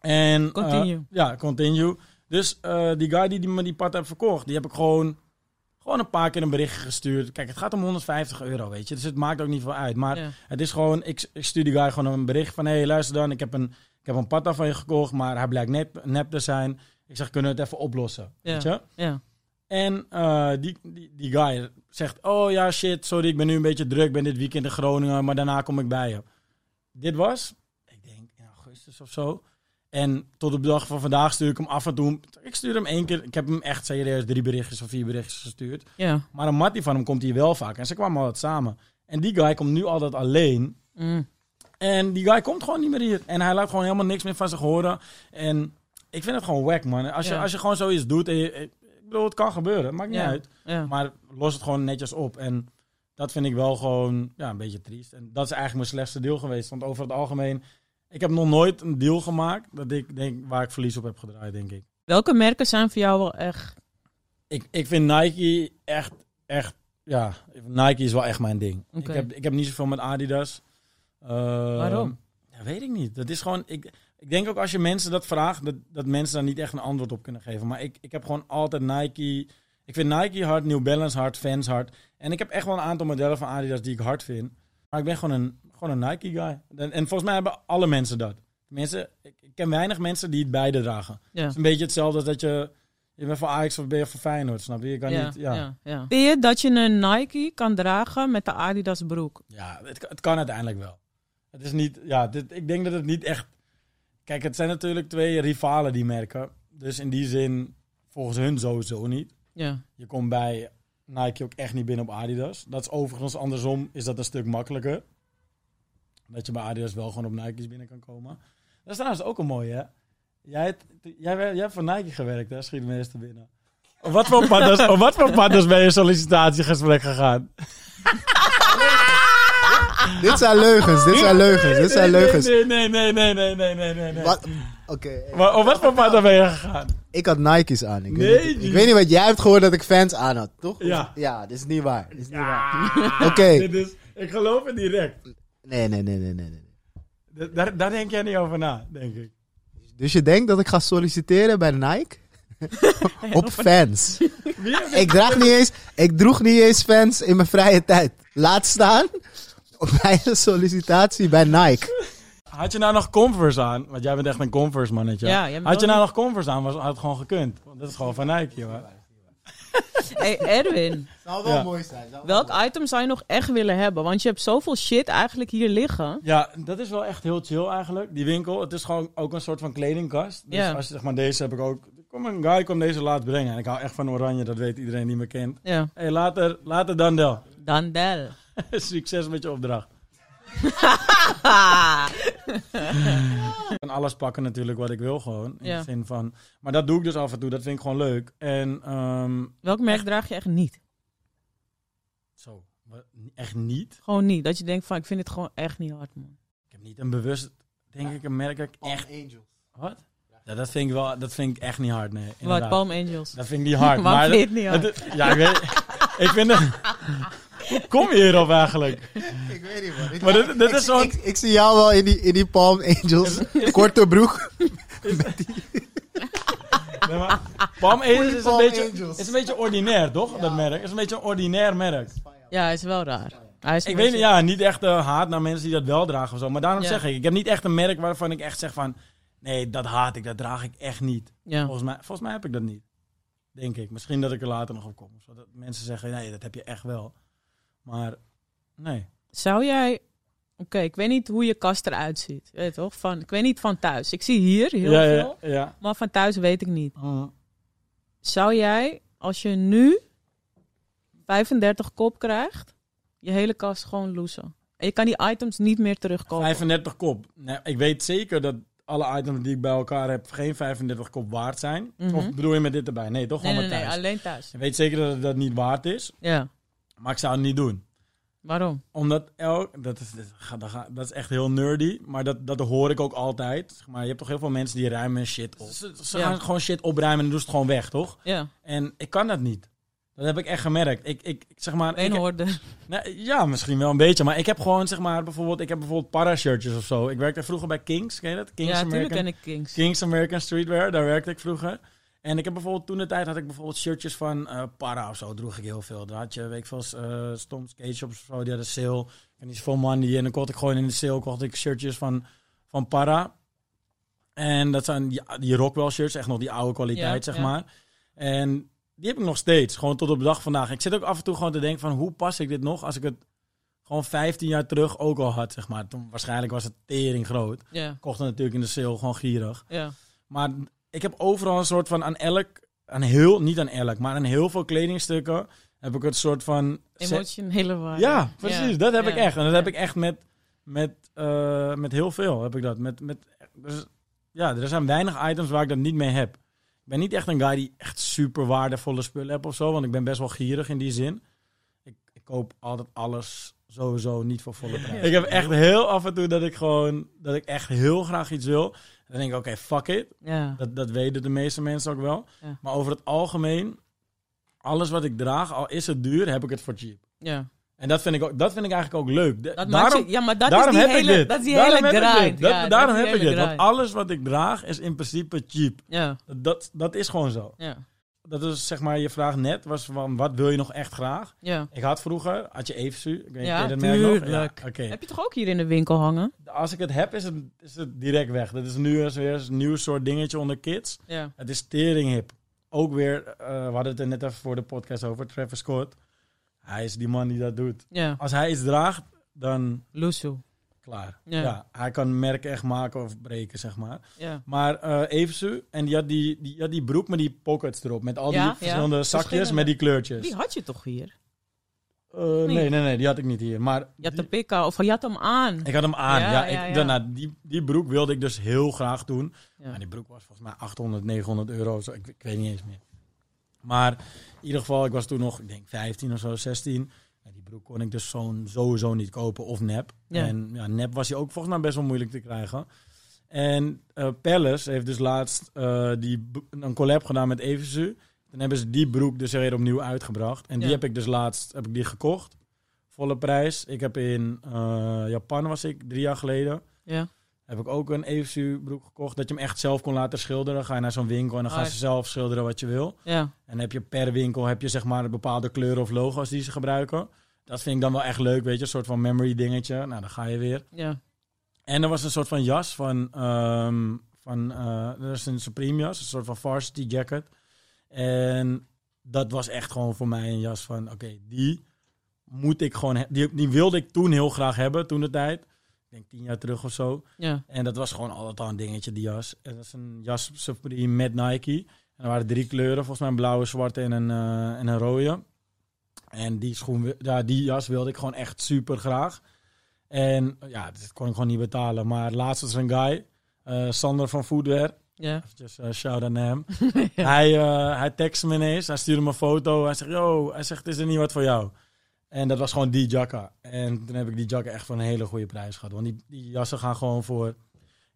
Speaker 1: En, eh,
Speaker 2: Continue.
Speaker 1: ja, continue. Dus eh, die guy die, die me die pad heeft verkocht, die heb ik gewoon, Gewoon een paar keer een berichtje gestuurd. Kijk, het gaat om 150 euro, weet je. Dus het maakt ook niet veel uit. Maar
Speaker 2: Ja.
Speaker 1: het is gewoon, ik, ik stuur die guy gewoon een bericht van... Hé, hey, luister dan, ik heb, een, ik heb een patta van je gekocht, maar hij blijkt nep, nep te zijn. Ik zeg, kunnen we het even oplossen?
Speaker 2: Ja.
Speaker 1: Weet je?
Speaker 2: Ja.
Speaker 1: En eh, die, die, die guy zegt: Oh ja, shit, sorry, ik ben nu een beetje druk. Ik ben dit weekend in Groningen, maar daarna kom ik bij je. Dit was, ik denk, in augustus of zo. En tot op de dag van vandaag stuur ik hem af en toe. Ik stuur hem één keer. Ik heb hem echt serieus drie berichtjes of vier berichtjes gestuurd.
Speaker 2: Ja.
Speaker 1: Maar een mattie van hem komt hier wel vaak. En ze kwamen altijd samen. En die guy komt nu altijd alleen.
Speaker 2: Mm.
Speaker 1: En die guy komt gewoon niet meer hier. En hij laat gewoon helemaal niks meer van zich horen. En ik vind het gewoon wack, man. Als je,
Speaker 2: Ja.
Speaker 1: als je gewoon zoiets doet. En je, ik bedoel, het kan gebeuren. Het maakt niet
Speaker 2: Ja.
Speaker 1: uit.
Speaker 2: Ja.
Speaker 1: Maar los het gewoon netjes op. En dat vind ik wel gewoon ja, een beetje triest. En dat is eigenlijk mijn slechtste deal geweest. Want over het algemeen. Ik heb nog nooit een deal gemaakt dat ik denk, waar ik verlies op heb gedraaid, denk ik.
Speaker 2: Welke merken zijn voor jou wel echt...
Speaker 1: Ik, ik vind Nike echt, echt, ja, Nike is wel echt mijn ding.
Speaker 2: Oké.
Speaker 1: Ik, heb, ik heb niet zoveel met Adidas. Eh,
Speaker 2: Waarom?
Speaker 1: Ja, weet ik niet. Dat is gewoon, ik, ik denk ook als je mensen dat vraagt, dat, dat mensen daar niet echt een antwoord op kunnen geven. Maar ik, ik heb gewoon altijd Nike, ik vind Nike hard, New Balance hard, Vans hard. En ik heb echt wel een aantal modellen van Adidas die ik hard vind. Maar ik ben gewoon een, gewoon een Nike guy. En, en volgens mij hebben alle mensen dat. Mensen, ik ik ken weinig mensen die het beide dragen.
Speaker 2: Ja.
Speaker 1: Het is een beetje hetzelfde als dat je... Je bent van Ajax of ben je van Feyenoord, snap je? Je kan niet... Ja, ja.
Speaker 2: Vind je dat je een Nike kan dragen met de Adidas broek?
Speaker 1: het, het kan uiteindelijk wel. Het is niet... Ja, dit, ik denk dat het niet echt... Kijk, het zijn natuurlijk twee rivalen die merken. Dus in die zin, volgens hun sowieso niet.
Speaker 2: Ja.
Speaker 1: Je komt bij Nike ook echt niet binnen op Adidas. Dat is overigens andersom, is dat een stuk makkelijker. Dat je bij Adidas wel gewoon op Nike's binnen kan komen. Dat is trouwens ook een mooie, hè? Jij, hebt- jij, wer- jij hebt voor Nike gewerkt, hè? Schiet me eerst te binnen. Op wat voor partners, op wat voor partners ben je sollicitatiegesprek gegaan?
Speaker 3: Dit zijn leugens, dit zijn leugens, dit zijn leugens.
Speaker 1: Nee, nee, nee, nee, nee, nee, nee, nee. nee.
Speaker 3: Wat? Oké,
Speaker 1: Maar op wat voor partner ben je gegaan?
Speaker 3: ik had Nike's aan. Ik,
Speaker 1: Nee,
Speaker 3: weet niet,
Speaker 1: die-
Speaker 3: ik weet niet wat jij hebt gehoord dat ik fans aan had, toch?
Speaker 1: Ja.
Speaker 3: Ja, dit is niet waar. Dit is niet waar.
Speaker 1: Ah,
Speaker 3: Oké.
Speaker 1: dit is- Ik geloof het direct.
Speaker 3: Nee, nee, nee, nee, nee. nee.
Speaker 1: Da- Daar, daar denk jij niet over na, denk ik.
Speaker 3: Dus je denkt dat ik ga solliciteren bij Nike? Op fans.
Speaker 1: Wie heeft
Speaker 3: Ik draag niet eens, ik droeg niet eens fans in mijn vrije tijd. Laat staan bij een sollicitatie bij Nike.
Speaker 1: Had je nou nog Converse aan? Want jij bent echt een Converse mannetje.
Speaker 2: Ja, jij bent
Speaker 1: had je
Speaker 2: wel
Speaker 1: nou nog Converse aan, was, had het gewoon gekund. Want dat is gewoon van Nike, joh.
Speaker 2: Hey Erwin,
Speaker 3: Zou
Speaker 1: wel Ja.
Speaker 3: mooi zijn.
Speaker 2: welk item zou je nog echt willen hebben? Want je hebt zoveel shit eigenlijk hier liggen.
Speaker 1: Ja, dat is wel echt heel chill eigenlijk, die winkel. Het is gewoon ook een soort van kledingkast. Dus
Speaker 2: Ja.
Speaker 1: als je zeg maar deze heb ik ook... Kom een guy, kom deze laat brengen. En ik hou echt van oranje, dat weet iedereen die me kent.
Speaker 2: Ja.
Speaker 1: hey, later, later Dandel.
Speaker 2: Dandel.
Speaker 1: Succes met je opdracht.
Speaker 2: Ah.
Speaker 1: Ik kan alles pakken natuurlijk wat ik wil gewoon. In
Speaker 2: Ja.
Speaker 1: de zin van... Maar dat doe ik dus af en toe, dat vind ik gewoon leuk. En ehm,
Speaker 2: Welk merk draag je echt niet?
Speaker 1: zo, wat- echt niet.
Speaker 2: Gewoon niet. Dat je denkt van, ik vind het gewoon echt niet hard, man.
Speaker 1: Ik heb niet een bewust, denk ik, een merk dat ik echt...
Speaker 3: Angels.
Speaker 1: Wat? Ja, dat vind ik wel, dat vind ik echt niet hard, nee.
Speaker 2: Wat,
Speaker 1: Inderdaad.
Speaker 2: Palm Angels.
Speaker 1: Dat vind ik niet hard.
Speaker 2: Waarom
Speaker 1: maar
Speaker 2: vind je het niet hard?
Speaker 1: het- ja, ik weet... ik vind het... Hoe kom je hierop eigenlijk?
Speaker 3: Ik weet niet, man.
Speaker 1: Maar dit- dit
Speaker 3: ik,
Speaker 1: is
Speaker 3: zie-
Speaker 1: zo'n-
Speaker 3: ik, ik zie jou wel in die, in die Palm Angels. Korte broek.
Speaker 1: Nee, maar Palm Angels is een,
Speaker 3: Palm
Speaker 1: beetje,
Speaker 3: Angels.
Speaker 1: is een beetje ordinair, toch? Dat merk. is een beetje een ordinair merk.
Speaker 2: Ja, hij is wel raar. Hij is een
Speaker 1: Ik weet niet,
Speaker 2: beetje-
Speaker 1: ja, niet echt eh, haat naar mensen die dat wel dragen of zo. Maar daarom
Speaker 2: Ja.
Speaker 1: zeg ik, ik heb niet echt een merk waarvan ik echt zeg van... Nee, dat haat ik, dat draag ik echt niet.
Speaker 2: Ja.
Speaker 1: Volgens mij, volgens mij heb ik dat niet. Denk ik. Misschien dat ik er later nog op kom. Zodat mensen zeggen, nee, dat heb je echt wel. Maar, nee.
Speaker 2: Zou jij... Oké, ik weet niet hoe je kast eruit ziet. Weet je toch? Van, ik weet niet van thuis. Ik zie hier heel
Speaker 1: ja,
Speaker 2: veel.
Speaker 1: ja, ja.
Speaker 2: Maar van thuis weet ik niet.
Speaker 1: Oh,
Speaker 2: Zou jij, als je nu 35 kop krijgt, je hele kast gewoon loesen? En je kan die items niet meer terugkomen.
Speaker 1: 35 kop. Nee, ik weet zeker dat alle items die ik bij elkaar heb geen 35 kop waard zijn.
Speaker 2: Mhm.
Speaker 1: Of bedoel je met dit erbij? Nee, toch
Speaker 2: nee,
Speaker 1: gewoon
Speaker 2: nee,
Speaker 1: met
Speaker 2: nee,
Speaker 1: thuis.
Speaker 2: alleen thuis.
Speaker 1: Ik weet zeker dat het dat niet waard is.
Speaker 2: Ja,
Speaker 1: Maar ik zou het niet doen.
Speaker 2: waarom?
Speaker 1: Omdat elk... Dat is, dat ga- dat ga- dat is echt heel nerdy. Maar dat, dat hoor ik ook altijd. Zeg Maar je hebt toch heel veel mensen die ruimen shit op. Ze, ze
Speaker 2: Ja.
Speaker 1: gaan gewoon shit opruimen en doen ze het gewoon weg, toch?
Speaker 2: Ja,
Speaker 1: En ik kan dat niet. Dat heb ik echt gemerkt. Ik, ik, ik zeg maar.
Speaker 2: één
Speaker 1: ik-
Speaker 2: hoorde.
Speaker 1: nou, ja, misschien wel een beetje. Maar ik heb gewoon, zeg maar, bijvoorbeeld, ik heb bijvoorbeeld para-shirtjes of zo. Ik werkte vroeger bij Kings, ken je dat? Kings
Speaker 2: Ja, natuurlijk
Speaker 1: American,
Speaker 2: ken ik Kings.
Speaker 1: Kings American Streetwear, daar werkte ik vroeger. En ik heb bijvoorbeeld toen de tijd had ik bijvoorbeeld shirtjes van eh Para of zo droeg ik heel veel. Daar had je, weet ik veel, eh Stom Skate Shops of zo, die hadden sale. En die is veel money. En dan kocht ik gewoon in de sale kocht ik shirtjes van, van Para. En dat zijn die, die Rockwell shirts, echt nog die oude kwaliteit,
Speaker 2: Ja,
Speaker 1: zeg
Speaker 2: ja.
Speaker 1: maar. En die heb ik nog steeds, gewoon tot op de dag vandaag. Ik zit ook af en toe gewoon te denken van, hoe pas ik dit nog als ik het gewoon 15 jaar terug ook al had, zeg maar. Toen, waarschijnlijk was het tering groot.
Speaker 2: Ja,
Speaker 1: Ik kocht het natuurlijk in de sale, gewoon gierig.
Speaker 2: ja.
Speaker 1: Maar ik heb overal een soort van aan elk, aan heel, niet aan elk, maar aan heel veel kledingstukken heb ik het soort van.
Speaker 2: Emotionele waarde.
Speaker 1: Ja, precies. Dat heb
Speaker 2: ja,
Speaker 1: ik echt. En dat heb
Speaker 2: ja.
Speaker 1: ik echt met, met, eh, met heel veel heb ik dat. Met, met, dus, ja, er zijn weinig items waar ik dat niet mee heb. Ik ben niet echt een guy die echt super waardevolle spullen hebt of zo, want ik ben best wel gierig in die zin. Ik, ik koop altijd alles sowieso niet voor volle prijs. Ik heb echt heel af en toe dat ik gewoon, dat ik echt heel graag iets wil. Dan denk ik, oké, fuck it.
Speaker 2: Ja.
Speaker 1: Dat, dat weten de meeste mensen ook wel.
Speaker 2: Ja.
Speaker 1: Maar over het algemeen, alles wat ik draag, al is het duur, heb ik het voor cheap.
Speaker 2: ja.
Speaker 1: En dat vind ik, ook, dat vind ik eigenlijk ook leuk. De-
Speaker 2: Dat maakt
Speaker 1: daarom
Speaker 2: je, ja, maar dat
Speaker 1: daarom
Speaker 2: is die
Speaker 1: heb
Speaker 2: hele,
Speaker 1: ik dit.
Speaker 2: Dat is die
Speaker 1: daarom
Speaker 2: hele
Speaker 1: heb ik
Speaker 2: grind.
Speaker 1: dit. Dat-
Speaker 2: Ja, dat
Speaker 1: daarom
Speaker 2: is die
Speaker 1: heb ik
Speaker 2: hele
Speaker 1: dit. Want
Speaker 2: grind.
Speaker 1: alles wat ik draag is in principe cheap.
Speaker 2: Ja,
Speaker 1: Dat, dat is gewoon zo.
Speaker 2: ja,
Speaker 1: Dat is zeg maar je vraag net, was van wat wil je nog echt graag?
Speaker 2: ja.
Speaker 1: Ik had vroeger, had je Evensu. Ik weet niet,
Speaker 2: Ja,
Speaker 1: ken je dat merk nog?
Speaker 2: tuurlijk.
Speaker 1: Ja, oké.
Speaker 2: Heb je toch ook hier in de winkel hangen?
Speaker 1: Als ik het heb, is het, is het direct weg. Dat is nu eens weer een nieuw soort dingetje onder kids.
Speaker 2: Ja.
Speaker 1: Het is teringhip. Ook weer, eh, we hadden het er net even voor de podcast over, Travis Scott. Hij is die man die dat doet.
Speaker 2: Ja,
Speaker 1: Als hij iets draagt, dan
Speaker 2: Lusso.
Speaker 1: klaar.
Speaker 2: Ja.
Speaker 1: Ja. hij kan merken echt maken of breken, zeg maar.
Speaker 2: Ja.
Speaker 1: Maar eh Evensu, en die had die, die had die broek met die pockets erop. Met al die
Speaker 2: Ja, ja.
Speaker 1: verschillende zakjes
Speaker 2: Verschillende.
Speaker 1: met die kleurtjes.
Speaker 2: Die had je toch hier?
Speaker 1: Eh, nee, nee, nee, die had ik niet hier. Maar
Speaker 2: Je had
Speaker 1: die-
Speaker 2: de pikka of je had hem aan.
Speaker 1: ik had hem aan.
Speaker 2: Ja,
Speaker 1: Ja,
Speaker 2: ja,
Speaker 1: ik,
Speaker 2: ja.
Speaker 1: Daarna, die, die broek wilde ik dus heel graag doen.
Speaker 2: Ja.
Speaker 1: Maar die broek was volgens mij 800, 900 euro. Zo, ik, ik weet niet eens meer. Maar in ieder geval, ik was toen nog, ik denk 15 of zo, 16. Ja, die broek kon ik dus zo'n sowieso niet kopen of nep.
Speaker 2: Ja.
Speaker 1: En ja, nep was hij ook volgens mij best wel moeilijk te krijgen. En eh Palace heeft dus laatst eh, die, b- een collab gedaan met Evenzu. Dan hebben ze die broek dus weer opnieuw uitgebracht. En die
Speaker 2: Ja.
Speaker 1: heb ik dus laatst heb ik die gekocht. Volle prijs. Ik heb in eh, Japan was ik, drie jaar geleden.
Speaker 2: Ja.
Speaker 1: Heb ik ook een EFSU broek gekocht. Dat je hem echt zelf kon laten schilderen. Ga je naar zo'n winkel en dan gaan
Speaker 2: Hard.
Speaker 1: ze zelf schilderen wat je wil.
Speaker 2: Ja.
Speaker 1: En heb je per winkel heb je zeg maar een bepaalde kleuren of logo's die ze gebruiken. Dat vind ik dan wel echt leuk, weet je. Een soort van memory dingetje. Nou, dan ga je weer.
Speaker 2: Ja.
Speaker 1: En er was een soort van jas van... ehm van eh er is een Supreme jas, een soort van varsity jacket. En dat was echt gewoon voor mij een jas van... Oké, die moet ik gewoon... he- Die, die wilde ik toen heel graag hebben, toen de tijd. Ik denk tien jaar terug of zo.
Speaker 2: Ja.
Speaker 1: En dat was gewoon altijd al een dingetje, die jas. En dat is een jas Supreme met Nike. En er waren drie kleuren, volgens mij een blauwe, zwarte en een, eh, en een rode. En die, schoen, wi- ja, die jas wilde ik gewoon echt super graag. En ja, dat kon ik gewoon niet betalen. Maar laatst was er een guy, eh, Sander van Foodwear.
Speaker 2: Ja.
Speaker 1: Eventjes eh, shout out naar hem. Hij, eh hij tekst me ineens. Hij stuurde me een foto. Hij zegt, yo, hij zegt, is er niet wat voor jou? En dat was gewoon die jacka. En toen heb ik die jacka echt voor een hele goede prijs gehad. Want die, die jassen gaan gewoon voor, ik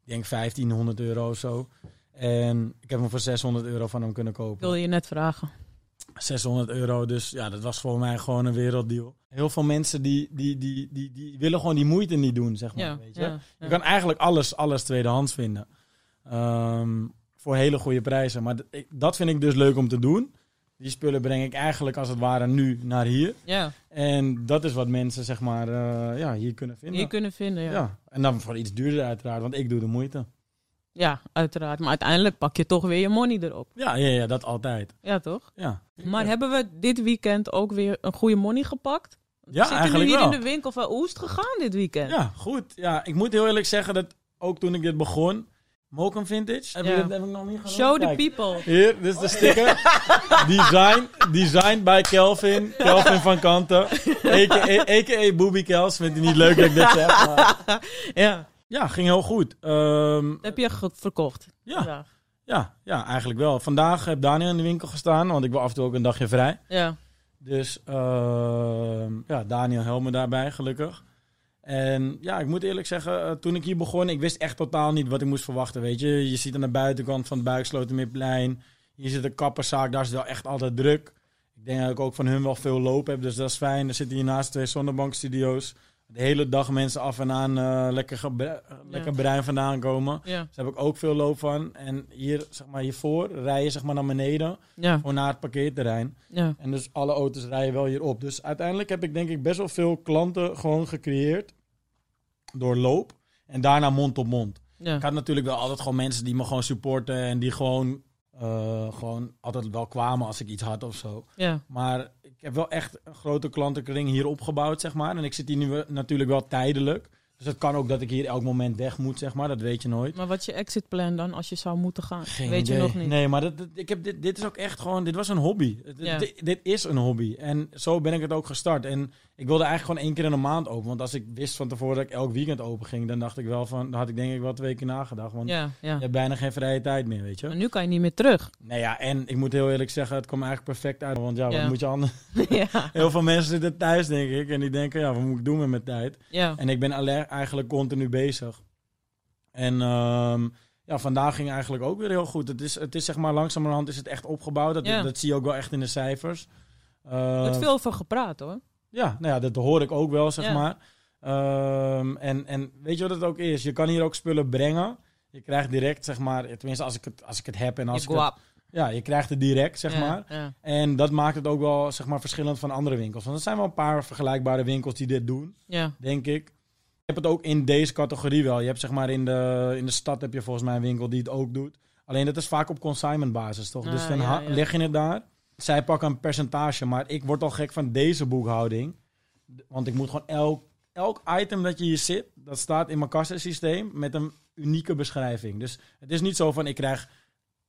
Speaker 1: denk 1500 euro of zo. En ik heb hem voor 600 euro van hem kunnen
Speaker 2: Ik
Speaker 1: kopen.
Speaker 2: wilde je net vragen.
Speaker 1: 600 euro. Dus ja, dat was voor mij gewoon een werelddeal. Heel veel mensen die, die, die, die, die willen gewoon die moeite niet doen, zeg maar.
Speaker 2: Ja.
Speaker 1: weet je?
Speaker 2: Ja.
Speaker 1: Je
Speaker 2: ja.
Speaker 1: kan eigenlijk alles, alles tweedehands vinden. Ehm, voor hele goede prijzen. Maar d- ik- dat vind ik dus leuk om te doen. Die spullen breng ik eigenlijk als het ware nu naar hier.
Speaker 2: Ja.
Speaker 1: En dat is wat mensen zeg maar eh, ja, hier kunnen vinden.
Speaker 2: Hier kunnen vinden,
Speaker 1: ja.
Speaker 2: ja.
Speaker 1: En dan voor iets duurder uiteraard, want ik doe de moeite.
Speaker 2: Ja, uiteraard. Maar uiteindelijk pak je toch weer je money erop.
Speaker 1: Ja, ja, ja dat altijd.
Speaker 2: Ja, toch?
Speaker 1: Ja.
Speaker 2: Maar hebben we dit weekend ook weer een goede money gepakt? We
Speaker 1: ja,
Speaker 2: zitten nu
Speaker 1: eigenlijk
Speaker 2: hier
Speaker 1: wel.
Speaker 2: in de winkel van Oest gegaan dit weekend.
Speaker 1: Ja, goed. Ja, ik moet heel eerlijk zeggen dat ook toen ik dit begon, Mokum Vintage, heb,
Speaker 2: Ja.
Speaker 1: ik, dat heb ik nog niet gedaan.
Speaker 2: Show the
Speaker 1: Kijk.
Speaker 2: people.
Speaker 1: Hier, dit is de sticker. Design, designed by Kelvin. Kelvin van Kanten. A.k.a. AKA Booby Kels. Vindt hij niet leuk dat ik dit zeg. Maar...
Speaker 2: Ja.
Speaker 1: Ja, ging heel goed. Ehm,
Speaker 2: Dat heb je ge- verkocht.
Speaker 1: ja,
Speaker 2: Ja.
Speaker 1: ja, ja, eigenlijk wel. Vandaag heb Daniel in de winkel gestaan, want ik ben af en toe ook een dagje vrij.
Speaker 2: Ja.
Speaker 1: Dus ehm, ja, Daniel Helme daarbij, gelukkig. En ja, ik moet eerlijk zeggen, eh, toen ik hier begon, ik wist echt totaal niet wat ik moest verwachten. Weet je, je ziet aan de buitenkant van het Buikslotermeerplein, hier zit een kapperszaak, daar is het wel echt altijd druk. Ik denk dat ik ook van hun wel veel loop heb, dus dat is fijn. Er zitten hiernaast twee zonnebankstudio's. de hele dag mensen af en aan eh, lekker, gebru- lekker bruin vandaan komen.
Speaker 2: Ja,
Speaker 1: Daar heb ik ook veel loop van. En hier, zeg maar, hiervoor rij je zeg maar, naar beneden,
Speaker 2: ja,
Speaker 1: gewoon naar het parkeerterrein.
Speaker 2: ja.
Speaker 1: En dus alle auto's rijden wel hierop. Dus uiteindelijk heb ik denk ik best wel veel klanten gewoon gecreëerd door loop. En daarna mond op mond. Ik
Speaker 2: ja.
Speaker 1: had natuurlijk wel altijd gewoon mensen die me gewoon supporten en die gewoon, eh, gewoon altijd wel kwamen als ik iets had of zo.
Speaker 2: ja.
Speaker 1: Maar ik heb wel echt een grote klantenkring hier opgebouwd, zeg maar. En ik zit hier nu wel- natuurlijk wel tijdelijk. Dus het kan ook dat ik hier elk moment weg moet, zeg maar. Dat weet je nooit.
Speaker 2: Maar wat is je exit plan dan als je zou moeten gaan?
Speaker 1: Geen
Speaker 2: Weet je
Speaker 1: idee.
Speaker 2: nog niet.
Speaker 1: Nee, maar dat, dat- ik heb dit, dit is ook echt gewoon... Dit was een hobby. Het-
Speaker 2: Ja.
Speaker 1: Dit, dit is een hobby. En zo ben ik het ook gestart. En ik wilde eigenlijk gewoon één keer in de maand open. Want als ik wist van tevoren dat ik elk weekend open ging... dan dacht ik wel van... Dan had ik denk ik wel twee keer nagedacht. Want
Speaker 2: Ja, ja.
Speaker 1: je hebt bijna geen vrije tijd meer, weet je.
Speaker 2: Maar nu kan je niet meer terug.
Speaker 1: Nou ja, en ik moet heel eerlijk zeggen, het kwam eigenlijk perfect uit. Want ja, wat
Speaker 2: Ja.
Speaker 1: moet je anders...
Speaker 2: ja,
Speaker 1: Heel veel mensen zitten thuis, denk ik. En die denken, ja, wat moet ik doen met mijn tijd?
Speaker 2: ja,
Speaker 1: En ik ben alle- eigenlijk continu bezig. En ehm, ja, vandaag ging eigenlijk ook weer heel goed. Het is, het is zeg maar langzamerhand is het echt opgebouwd. Dat,
Speaker 2: Ja.
Speaker 1: dat zie je ook wel echt in de cijfers.
Speaker 2: er
Speaker 1: Eh,
Speaker 2: wordt veel over gepraat hoor.
Speaker 1: ja, nou ja, dat hoor ik ook wel, zeg
Speaker 2: Ja.
Speaker 1: maar. Ehm, en, en weet je wat het ook is? Je kan hier ook spullen brengen. Je krijgt direct, zeg maar, tenminste als ik het, als ik het heb en als
Speaker 2: Je
Speaker 1: ik het-
Speaker 2: guap.
Speaker 1: ja, je krijgt het direct, zeg
Speaker 2: Ja,
Speaker 1: maar.
Speaker 2: Ja,
Speaker 1: En dat maakt het ook wel zeg maar, verschillend van andere winkels. Want er zijn wel een paar vergelijkbare winkels die dit doen,
Speaker 2: ja,
Speaker 1: denk ik. Je hebt het ook in deze categorie wel. Je hebt zeg maar in de, in de stad heb je volgens mij een winkel die het ook doet. Alleen dat is vaak op consignment basis, toch?
Speaker 2: Ah,
Speaker 1: dus dan
Speaker 2: ja,
Speaker 1: ha-
Speaker 2: ja.
Speaker 1: leg je het daar. Zij pakken een percentage, maar ik word al gek van deze boekhouding. D- Want ik moet gewoon elk, elk item dat je hier zit, dat staat in mijn kassensysteem met een unieke beschrijving. Dus het is niet zo van ik krijg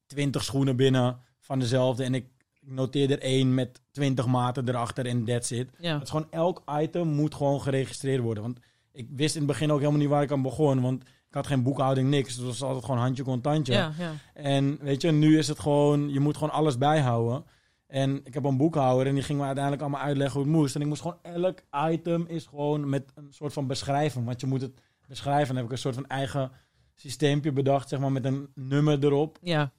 Speaker 1: 20 schoenen binnen van dezelfde en ik noteer er één met 20 maten erachter en that's it.
Speaker 2: ja.
Speaker 1: Het is gewoon elk item moet gewoon geregistreerd worden. Want ik wist in het begin ook helemaal niet waar ik aan begon. Want ik had geen boekhouding, niks. Dus Het was altijd gewoon handje contantje.
Speaker 2: Ja, ja.
Speaker 1: En weet je, nu is het gewoon, je moet gewoon alles bijhouden. En ik heb een boekhouder en die ging me uiteindelijk allemaal uitleggen hoe het moest. En ik moest gewoon, elk item is gewoon met een soort van beschrijving. Want je moet het beschrijven. Dan heb ik een soort van eigen systeempje bedacht, zeg maar, met een nummer erop.
Speaker 2: ja.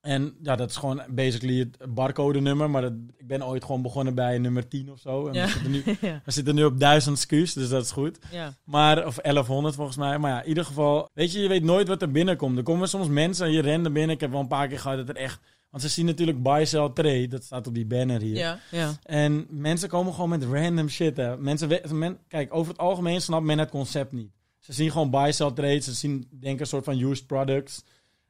Speaker 1: En ja, dat is gewoon basically het barcode nummer. Maar dat, ik ben ooit gewoon begonnen bij nummer 10 of zo. En
Speaker 2: Ja.
Speaker 1: we, zitten nu,
Speaker 2: ja.
Speaker 1: we zitten nu op 1000 SKU's, dus dat is goed.
Speaker 2: ja.
Speaker 1: Maar, of 1100 volgens mij. Maar ja, in ieder geval, weet je, je weet nooit wat er binnenkomt. Er komen soms mensen en je rent er binnen. Ik heb wel een paar keer gehad dat er echt... Want ze zien natuurlijk buy, sell, trade. Dat staat op die banner hier.
Speaker 2: Ja, ja,
Speaker 1: En mensen komen gewoon met random shit. Hè. Mensen, we- men- kijk, over het algemeen snapt men het concept niet. Ze zien gewoon buy, sell, trade. Ze zien, denken een soort van used products.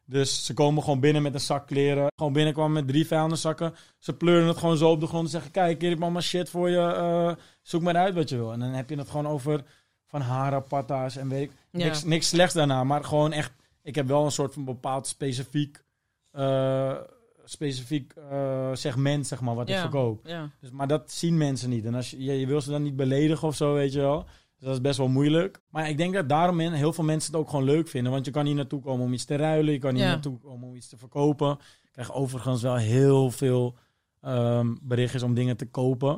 Speaker 1: Dus ze komen gewoon binnen met een zak kleren. Gewoon binnenkwamen met drie vuilniszakken. Ze pleuren het gewoon zo op de grond en zeggen... Kijk, hier heb ik allemaal shit voor je. eh, zoek maar uit wat je wil. En dan heb je het gewoon over van harapatta's en weet ik...
Speaker 2: Ja.
Speaker 1: Niks, niks slechts daarna, maar gewoon echt... Ik heb wel een soort van bepaald specifiek... eh, specifiek eh, segment, zeg maar, wat ik
Speaker 2: Ja.
Speaker 1: verkoop.
Speaker 2: ja.
Speaker 1: Dus, maar dat zien mensen niet. En als je, je, je wil ze dan niet beledigen of zo, weet je wel. Dus dat is best wel moeilijk. Maar ik denk dat daarom men- heel veel mensen het ook gewoon leuk vinden. Want je kan hier naartoe komen om iets te ruilen. Je kan hier
Speaker 2: Ja.
Speaker 1: naartoe komen om iets te verkopen. Ik krijg overigens wel heel veel ehm, berichtjes om dingen te kopen.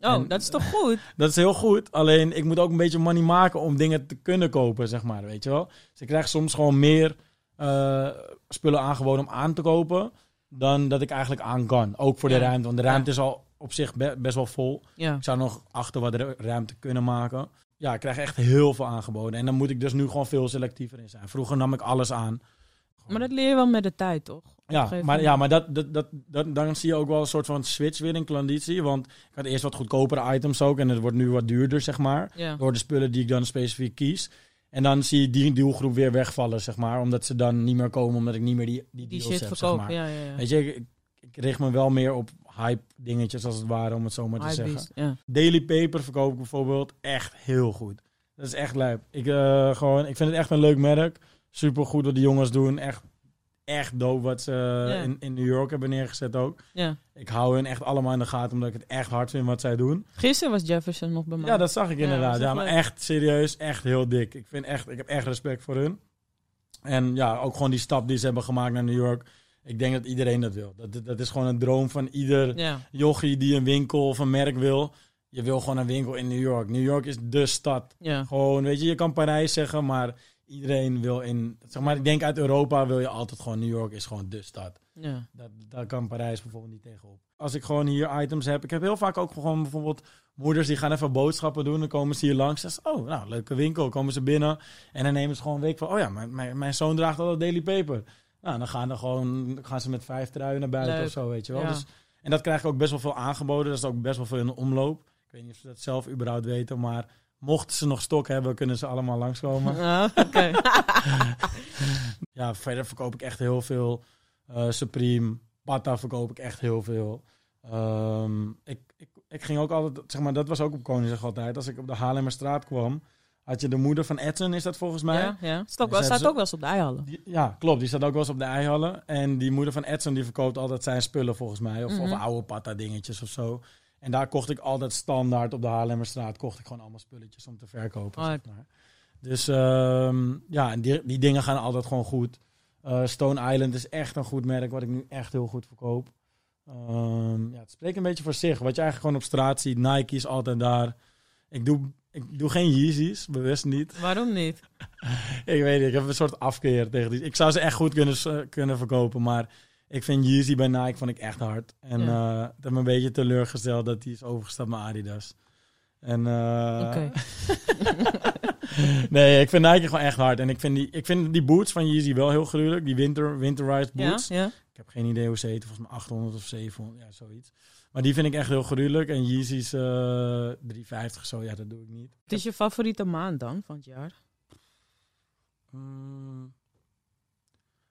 Speaker 2: Oh,
Speaker 1: En-
Speaker 2: dat is toch goed?
Speaker 1: Dat is heel goed. Alleen ik moet ook een beetje money maken om dingen te kunnen kopen, zeg maar. Weet je wel. Dus ik krijg soms gewoon meer eh, spullen aangeboden om aan te kopen. Dan dat ik eigenlijk aan kan. Ook voor de
Speaker 2: Ja.
Speaker 1: ruimte. Want de ruimte is al op zich be- best wel vol.
Speaker 2: Ja,
Speaker 1: Ik zou nog achter wat ru- ruimte kunnen maken. Ja, ik krijg echt heel veel aangeboden. En dan moet ik dus nu gewoon veel selectiever in zijn. Vroeger nam ik alles aan.
Speaker 2: maar dat leer je wel met de tijd, toch?
Speaker 1: Ja,
Speaker 2: gegeven
Speaker 1: maar,
Speaker 2: moment.
Speaker 1: ja, maar dat, dat, dat, dat- dan zie je ook wel een soort van switch weer in klanditie. Want ik had eerst wat goedkopere items ook. En het wordt nu wat duurder, zeg maar.
Speaker 2: Ja,
Speaker 1: Door de spullen die ik dan specifiek kies. En dan zie je die doelgroep weer wegvallen, zeg maar. Omdat ze dan niet meer komen, omdat ik niet meer die, die,
Speaker 2: die
Speaker 1: deals
Speaker 2: shit
Speaker 1: heb,
Speaker 2: verkopen.
Speaker 1: zeg maar.
Speaker 2: Ja, ja, ja.
Speaker 1: Weet je, ik, ik richt me wel meer op hype dingetjes, als het ware, om het zo maar te
Speaker 2: Hypebeast,
Speaker 1: zeggen.
Speaker 2: ja.
Speaker 1: Daily Paper verkoop ik bijvoorbeeld echt heel goed. Dat is echt lijp. Ik, eh, gewoon, ik vind het echt een leuk merk. Super goed wat die jongens doen. Echt, echt dope wat ze eh,
Speaker 2: Ja.
Speaker 1: in, in New York hebben neergezet ook.
Speaker 2: ja.
Speaker 1: Ik hou hen echt allemaal in de gaten omdat ik het echt hard vind wat zij doen.
Speaker 2: Gisteren was Jefferson nog bij mij.
Speaker 1: Ja, dat zag ik
Speaker 2: Ja,
Speaker 1: inderdaad.
Speaker 2: dat
Speaker 1: Ja,
Speaker 2: is echt
Speaker 1: maar
Speaker 2: leuk.
Speaker 1: echt serieus, echt heel dik. Ik, vind echt, ik heb echt respect voor hun. En ja, ook gewoon die stap die ze hebben gemaakt naar New York. Ik denk dat iedereen dat wil. Dat, dat is gewoon een droom van ieder
Speaker 2: ja.
Speaker 1: jochie die een winkel of een merk wil. Je wil gewoon een winkel in New York. New York is de stad.
Speaker 2: Ja.
Speaker 1: Gewoon, weet je, je kan Parijs zeggen, maar iedereen wil in... Zeg maar, ik denk uit Europa wil je altijd gewoon... New York is gewoon de stad.
Speaker 2: Ja.
Speaker 1: Dat, daar kan Parijs bijvoorbeeld niet tegenop. Als ik gewoon hier items heb... Ik heb heel vaak ook gewoon bijvoorbeeld... Moeders die gaan even boodschappen doen. Dan komen ze hier langs. Zeggen ze, oh, nou, leuke winkel. Komen ze binnen. En dan nemen ze gewoon een week van... Oh ja, mijn, mijn, mijn zoon draagt altijd Daily Paper. Nou, dan gaan, er gewoon, gaan ze met vijf truien naar buiten
Speaker 2: Leuk.
Speaker 1: of zo, weet je wel.
Speaker 2: Ja.
Speaker 1: Dus en dat krijg ik ook best wel veel aangeboden. Dat is ook best wel veel in de omloop. Ik weet niet of ze dat zelf überhaupt weten, maar mochten ze nog stok hebben, kunnen ze allemaal langskomen.
Speaker 2: Ah, Oké.
Speaker 1: ja, verder verkoop ik echt heel veel. Eh, Supreme, Bata verkoop ik echt heel veel. Ehm, ik, ik, ik ging ook altijd, zeg maar, dat was ook op Koningsdag altijd. Als ik op de Haarlemmerstraat kwam, had je de moeder van Edson, is dat volgens mij?
Speaker 2: Ja, ja. Het staat ook
Speaker 1: Dus
Speaker 2: wel-
Speaker 1: hebben
Speaker 2: staat
Speaker 1: ze-
Speaker 2: ook wel eens op de eihallen.
Speaker 1: Die- ja, klopt. Die staat ook wel eens op de eihallen. En die moeder van Edson die verkoopt altijd zijn spullen volgens mij. Of,
Speaker 2: Mhm.
Speaker 1: of oude patta dingetjes of zo. En daar kocht ik altijd standaard op de Haarlemmerstraat. Kocht ik gewoon allemaal spulletjes om te verkopen.
Speaker 2: Ah,
Speaker 1: zeg maar. Dus ehm, ja, en die, die dingen gaan altijd gewoon goed. Eh, Stone Island is echt een goed merk wat ik nu echt heel goed verkoop. Ehm, ja, het spreekt een beetje voor zich. Wat je eigenlijk gewoon op straat ziet. Nike is altijd daar. Ik doe, ik doe geen Yeezys, bewust niet.
Speaker 2: Waarom niet?
Speaker 1: Ik weet niet, ik heb een soort afkeer tegen die. Ik zou ze echt goed kunnen, s- eh, kunnen verkopen, maar ik vind Yeezy bij Nike vond ik echt hard. En eh
Speaker 2: Ja.
Speaker 1: dat me een beetje teleurgesteld dat die is overgestapt naar Adidas. En, eh,
Speaker 2: Oké.
Speaker 1: nee, ik vind Nike gewoon echt hard. En ik vind die, ik vind die boots van Yeezy wel heel gruwelijk. Die winter, winterized
Speaker 2: Ja,
Speaker 1: boots.
Speaker 2: ja.
Speaker 1: Ik heb geen idee hoe ze heten. Volgens mij 800 of 700, ja, zoiets. Maar die vind ik echt heel gruwelijk. En Yeezy's eh 350 zo, ja, dat doe ik niet.
Speaker 2: Het is je favoriete maand dan van het jaar?
Speaker 1: Hmm.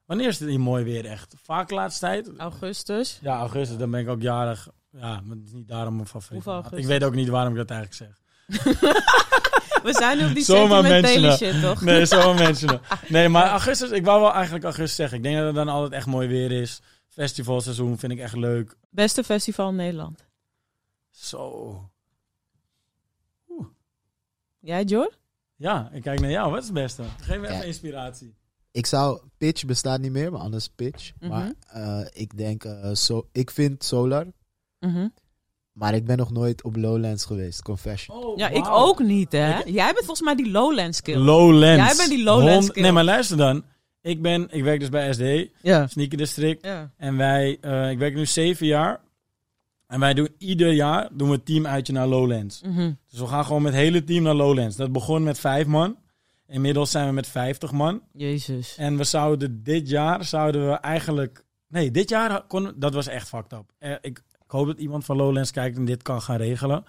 Speaker 1: Wanneer is het hier mooi weer echt? Vaak laatst tijd.
Speaker 2: Augustus.
Speaker 1: Ja, augustus, dan ben ik ook jarig. Ja, maar het is niet daarom mijn favoriet.
Speaker 2: Hoeveel augustus?
Speaker 1: Ik weet ook niet waarom ik dat eigenlijk zeg.
Speaker 2: We zijn nu op die
Speaker 1: Zomaar
Speaker 2: sentimentele
Speaker 1: mensen,
Speaker 2: shit, toch?
Speaker 1: Nee, zo mensen. Nee, maar augustus, ik wou wel eigenlijk augustus zeggen. Ik denk dat het dan altijd echt mooi weer is. Festivalseizoen vind ik echt leuk.
Speaker 2: Beste festival in Nederland.
Speaker 1: Zo.
Speaker 2: Jij, Jor?
Speaker 1: Ja, ik kijk naar jou. Wat is het beste? Geef me
Speaker 3: Ja.
Speaker 1: even inspiratie.
Speaker 3: Ik zou... Pitch bestaat niet meer, maar anders Pitch.
Speaker 1: Mhm.
Speaker 3: Maar eh, ik denk... eh, so, ik vind Solar,
Speaker 2: Mhm.
Speaker 3: maar ik ben nog nooit op Lowlands geweest. Confession.
Speaker 1: Oh,
Speaker 2: Ja, ik
Speaker 1: wauw.
Speaker 2: ook niet, hè? Jij bent volgens mij die Lowlands-kill.
Speaker 1: Lowlands.
Speaker 2: Jij bent die Lowlands
Speaker 1: Hond-
Speaker 2: kill.
Speaker 1: Nee, maar luister dan. Ik ben, ik werk dus bij SD,
Speaker 2: Ja.
Speaker 1: Sneaker District.
Speaker 2: ja.
Speaker 1: En wij, eh, ik werk nu zeven jaar. En wij doen ieder jaar doen we teamuitje naar Lowlands.
Speaker 2: Mhm.
Speaker 1: Dus we gaan gewoon met het hele team naar Lowlands. Dat begon met vijf man. Inmiddels zijn we met vijftig man.
Speaker 2: Jezus.
Speaker 1: En we zouden dit jaar zouden we eigenlijk. Nee, dit jaar kon. Dat was echt fucked up. Eh, ik, ik hoop dat iemand van Lowlands kijkt en dit kan gaan regelen.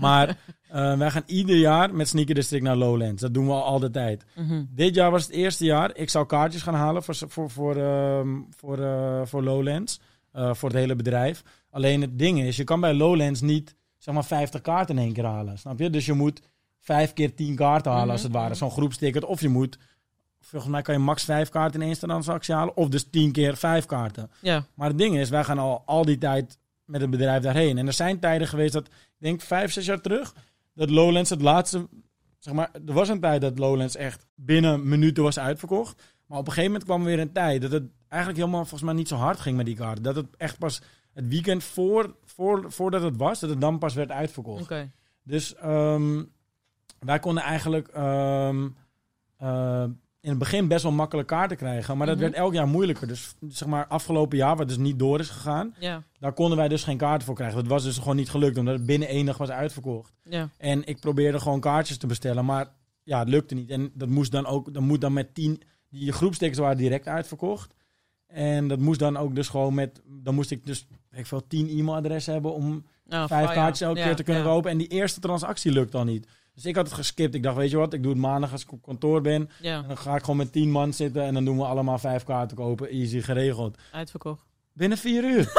Speaker 1: Maar eh, wij gaan ieder jaar met Sneaker District naar Lowlands. Dat doen we al, al de tijd.
Speaker 2: Mhm.
Speaker 1: Dit jaar was het eerste jaar. Ik zou kaartjes gaan halen voor, voor, voor, ehm, voor, eh, voor Lowlands. eh, voor het hele bedrijf. Alleen het ding is, je kan bij Lowlands niet zeg maar 50 kaarten in één keer halen. Snap je? Dus je moet vijf keer tien kaarten halen als het
Speaker 2: Mhm.
Speaker 1: ware. Zo'n groepsticket. Of je moet, volgens mij kan je max vijf kaarten in één transactie halen. Of dus tien keer vijf kaarten.
Speaker 2: Ja.
Speaker 1: Maar het ding is, wij gaan al, al die tijd met het bedrijf daarheen. En er zijn tijden geweest dat, ik denk vijf, zes jaar terug, dat Lowlands het laatste, zeg maar, er was een tijd dat Lowlands echt binnen minuten was uitverkocht. Maar op een gegeven moment kwam weer een tijd dat het eigenlijk helemaal volgens mij niet zo hard ging met die kaarten. Dat het echt pas het weekend voor, voor, voordat het was, dat het dan pas werd uitverkocht.
Speaker 2: Oké.
Speaker 1: Dus ehm, wij konden eigenlijk ehm, eh, in het begin best wel makkelijk kaarten krijgen. Maar dat
Speaker 2: Mhm.
Speaker 1: werd elk jaar moeilijker. Dus zeg maar afgelopen jaar, wat dus niet door is gegaan,
Speaker 2: Ja.
Speaker 1: daar konden wij dus geen kaarten voor krijgen. Dat was dus gewoon niet gelukt, omdat het binnen één dag was uitverkocht.
Speaker 2: Ja.
Speaker 1: En ik probeerde gewoon kaartjes te bestellen, maar ja, het lukte niet. En dat moest dan ook, dat moet dan met tien, die groepstekens waren direct uitverkocht. En dat moest dan ook dus gewoon met, dan moest ik dus, weet ik veel, tien e-mailadressen hebben om
Speaker 2: Nou,
Speaker 1: vijf
Speaker 2: fire.
Speaker 1: kaartjes elke
Speaker 2: Ja,
Speaker 1: keer te kunnen
Speaker 2: ja.
Speaker 1: kopen. En die eerste transactie lukt dan niet. Dus ik had het geskipt. Ik dacht, weet je wat, ik doe het maandag als ik op kantoor ben. En
Speaker 2: Ja,
Speaker 1: dan ga ik gewoon met tien man zitten en dan doen we allemaal vijf kaarten kopen. Easy, geregeld.
Speaker 2: uitverkocht.
Speaker 1: Binnen vier uur.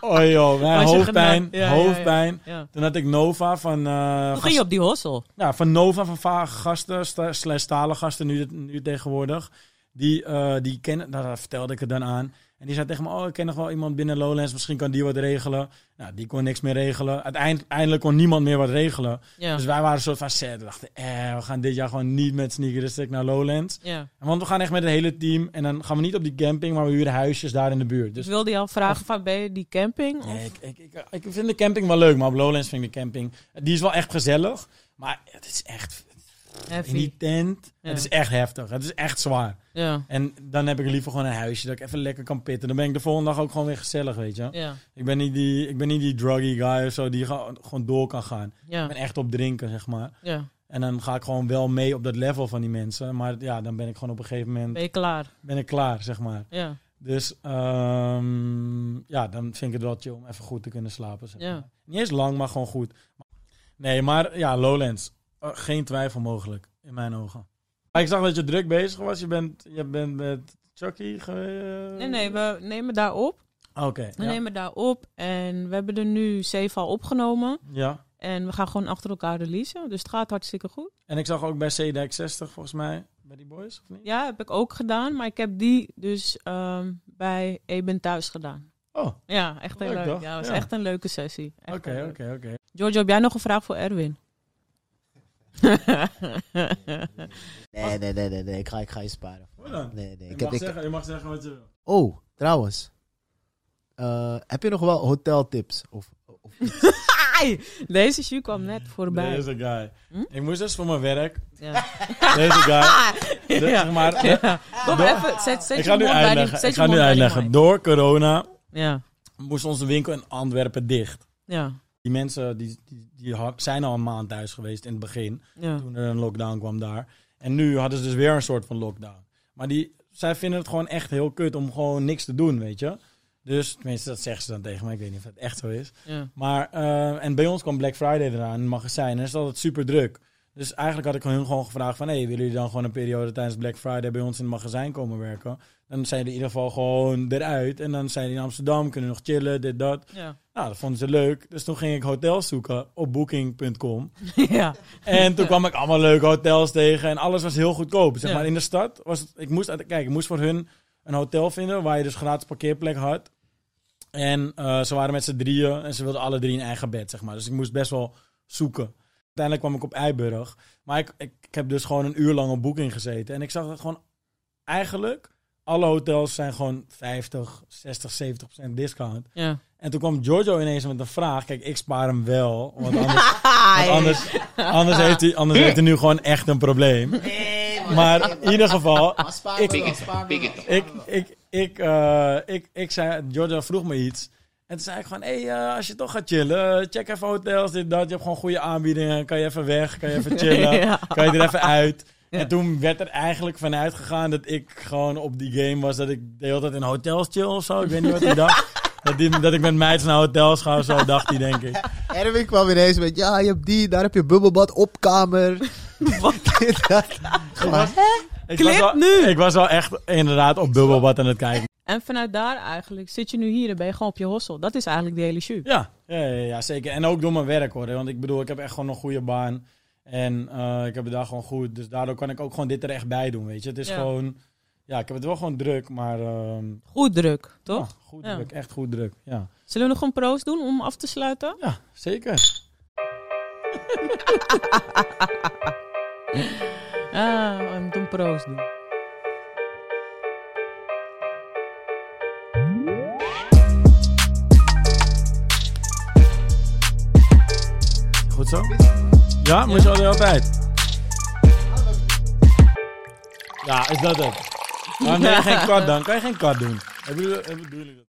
Speaker 1: oh joh, mijn
Speaker 2: Was je
Speaker 1: hoofdpijn,
Speaker 2: gedaan? Ja, ja, ja.
Speaker 1: hoofdpijn.
Speaker 2: Ja.
Speaker 1: Toen had ik Nova van, eh,
Speaker 2: Hoe ging
Speaker 1: gast-
Speaker 2: je op die hossel?
Speaker 1: ja, Nou, van Nova, van vage gasten, sta- slash stalen gasten nu, nu tegenwoordig. Die, eh, die kennen, daar vertelde ik het dan aan. En die zei tegen me, oh, ik ken nog wel iemand binnen Lowlands, misschien kan die wat regelen. Nou, die kon niks meer regelen. Uiteind- Uiteindelijk kon niemand meer wat regelen.
Speaker 2: Ja.
Speaker 1: Dus wij waren een soort van set. We dachten, eh, we gaan dit jaar gewoon niet met Sneaker District naar Lowlands.
Speaker 2: ja.
Speaker 1: En Want we gaan echt met het hele team. En dan gaan we niet op die camping, maar we huren huisjes daar in de buurt.
Speaker 2: Dus
Speaker 1: Dus
Speaker 2: wilde je al vragen van, ben je die camping? Of?
Speaker 1: Nee, ik, ik, ik, ik vind de camping wel leuk, maar op Lowlands vind ik de camping... Die is wel echt gezellig, maar het is echt... in die tent.
Speaker 2: Ja.
Speaker 1: Het is echt heftig. Het is echt zwaar.
Speaker 2: Ja.
Speaker 1: En dan heb ik liever gewoon een huisje dat ik even lekker kan pitten. Dan ben ik de volgende dag ook gewoon weer gezellig, weet je.
Speaker 2: Ja.
Speaker 1: Ik, ben niet die, ik ben niet die druggy guy of zo die gewoon gewoon door kan gaan. Ik
Speaker 2: Ja.
Speaker 1: ben echt op drinken, zeg maar.
Speaker 2: ja.
Speaker 1: En dan ga ik gewoon wel mee op dat level van die mensen. Maar ja, dan ben ik gewoon op een gegeven moment
Speaker 2: Ben je klaar?
Speaker 1: ben ik klaar, zeg maar.
Speaker 2: Ja.
Speaker 1: Dus ehm, ja, dan vind ik het wel chill om even goed te kunnen slapen. Zeg
Speaker 2: Ja.
Speaker 1: maar. Niet eens lang, maar gewoon goed. Nee, maar ja, Lowlands. Eh, geen twijfel mogelijk, in mijn ogen. Maar ik zag dat je druk bezig was. Je bent, je bent met Chucky ge- Ah,
Speaker 2: Nee, nee, we nemen daar op.
Speaker 1: Oké,
Speaker 2: We
Speaker 1: ja.
Speaker 2: nemen daar op en we hebben er nu zeven al opgenomen.
Speaker 1: ja. En
Speaker 2: En we gaan gewoon achter elkaar releasen. Dus het gaat hartstikke goed.
Speaker 1: ik zag ook bij C-Dijk 60, volgens mij, bij die boys, of niet?
Speaker 2: Ja, heb ik ook gedaan. Maar ik heb die dus ehm, bij Eben thuis gedaan.
Speaker 1: Oh,
Speaker 2: Ja, echt heel
Speaker 1: Leuk,
Speaker 2: leuk.
Speaker 1: toch?
Speaker 2: Ja, was
Speaker 1: Ja.
Speaker 2: echt een leuke sessie. Echt heel
Speaker 1: oké,
Speaker 2: leuk.
Speaker 1: oké, oké.
Speaker 2: Giorgio, heb jij nog een vraag voor Erwin?
Speaker 3: Nee, nee, nee, nee, nee. Ik ga, ik ga je sparen.
Speaker 1: Hoe dan?
Speaker 3: Nee, nee.
Speaker 1: Je mag,
Speaker 3: Ik heb, ik,
Speaker 1: zeggen, je mag zeggen wat je wil.
Speaker 3: oh, trouwens. Eh, heb je nog wel hoteltips? Of, of
Speaker 2: Ai, Deze shoe kwam net voorbij.
Speaker 1: Deze guy.
Speaker 2: Hm?
Speaker 1: Ik moest dus voor mijn werk.
Speaker 2: Ja.
Speaker 1: Deze guy. De-
Speaker 2: Ja.
Speaker 1: zeg maar, de-
Speaker 2: Ja. Kom
Speaker 1: Door-
Speaker 2: even, zet, zet
Speaker 1: Ik
Speaker 2: je
Speaker 1: ga nu
Speaker 2: mond bij die,
Speaker 1: uitleggen.
Speaker 2: zet
Speaker 1: Ik
Speaker 2: je
Speaker 1: ga nu
Speaker 2: mond bij die
Speaker 1: uitleggen.
Speaker 2: mic.
Speaker 1: Door corona
Speaker 2: Ja,
Speaker 1: moest onze winkel in Antwerpen dicht.
Speaker 2: ja,
Speaker 1: Die mensen die, die, die ha- zijn al een maand thuis geweest in het begin.
Speaker 2: ja.
Speaker 1: Toen er een lockdown kwam daar. En nu hadden ze dus weer een soort van lockdown. Maar die, zij vinden het gewoon echt heel kut om gewoon niks te doen, weet je. Dus, tenminste, dat zeggen ze dan tegen mij. Ik weet niet of dat echt zo is.
Speaker 2: ja.
Speaker 1: Maar, eh, en bij ons kwam Black Friday eraan in het magazijn. En dat is altijd super druk. Dus eigenlijk had ik hun gewoon gevraagd van... hé, hey, willen jullie dan gewoon een periode tijdens Black Friday bij ons in het magazijn komen werken? Dan zijn die in ieder geval gewoon eruit. En dan zijn die in Amsterdam, kunnen nog chillen, dit, dat.
Speaker 2: Ja.
Speaker 1: Nou, dat vonden ze leuk. Dus toen ging ik hotels zoeken op booking.com.
Speaker 2: ja.
Speaker 1: En toen kwam ik allemaal leuke hotels tegen. En alles was heel goedkoop. Zeg
Speaker 2: Ja.
Speaker 1: maar in de stad was het. Ik moest, uit- kijk, ik moest voor hun een hotel vinden. waar je dus gratis parkeerplek had. En eh, ze waren met z'n drieën. En ze wilden alle drie een eigen bed, zeg maar. Dus ik moest best wel zoeken. Uiteindelijk kwam ik op Eiburg. Maar ik, ik, ik heb dus gewoon een uur lang op boeking gezeten. En ik zag dat gewoon eigenlijk. Alle hotels zijn gewoon 50, 60, 70 procent discount.
Speaker 2: ja.
Speaker 1: En toen kwam Giorgio ineens met een vraag. Kijk, ik spaar hem wel. Want anders, want anders, anders, heeft hij, anders heeft hij nu gewoon echt een probleem. maar in ieder geval, ik, ik, ik, ik, eh, ik, ik zei, Giorgio vroeg me iets. En toen zei ik gewoon, hé, hey, eh, als je toch gaat chillen, eh, check even hotels, dit, dat. Je hebt gewoon goede aanbiedingen. Kan je even weg, kan je even chillen,
Speaker 2: Ja.
Speaker 1: kan je er even uit. En toen werd er eigenlijk vanuit gegaan dat ik gewoon op die game was. Dat ik de hele tijd in hotels chill of zo. Ik weet niet wat hij dacht. Dat, die, dat ik met meids naar hotels ga of zo, dacht hij denk ik.
Speaker 3: Erwin kwam ineens met, ja, je hebt die, daar heb je bubbelbad, opkamer. Dit, dat. Gewoon,
Speaker 1: Ik
Speaker 2: Clip
Speaker 1: was wel,
Speaker 2: nu!
Speaker 1: Ik was wel echt inderdaad op bubbelbad aan het kijken.
Speaker 2: En vanuit daar eigenlijk zit je nu hier en ben je gewoon op je hossel. Dat is eigenlijk de hele shoe.
Speaker 1: Ja, ja, ja, ja, zeker. En ook door mijn werk hoor. hè. Want ik bedoel, ik heb echt gewoon een goede baan. En eh, ik heb het daar gewoon goed. Dus daardoor kan ik ook gewoon dit er echt bij doen, weet je. Het is
Speaker 2: Ja.
Speaker 1: gewoon... Ja, ik heb het wel gewoon druk, maar... ehm,
Speaker 2: Goed druk, toch?
Speaker 1: ja, goed
Speaker 2: Ja.
Speaker 1: druk, echt goed druk. Ja,
Speaker 2: Zullen we nog een proost doen om af te sluiten?
Speaker 1: ja zeker.
Speaker 2: Ah, we moeten een proost doen.
Speaker 1: Goed zo? Ja, moet je al de hele tijd. Ja, is dat het? Waarom ben je geen kat dan? Kan je geen kat doen? Hebben jullie- hebben- doen jullie dat?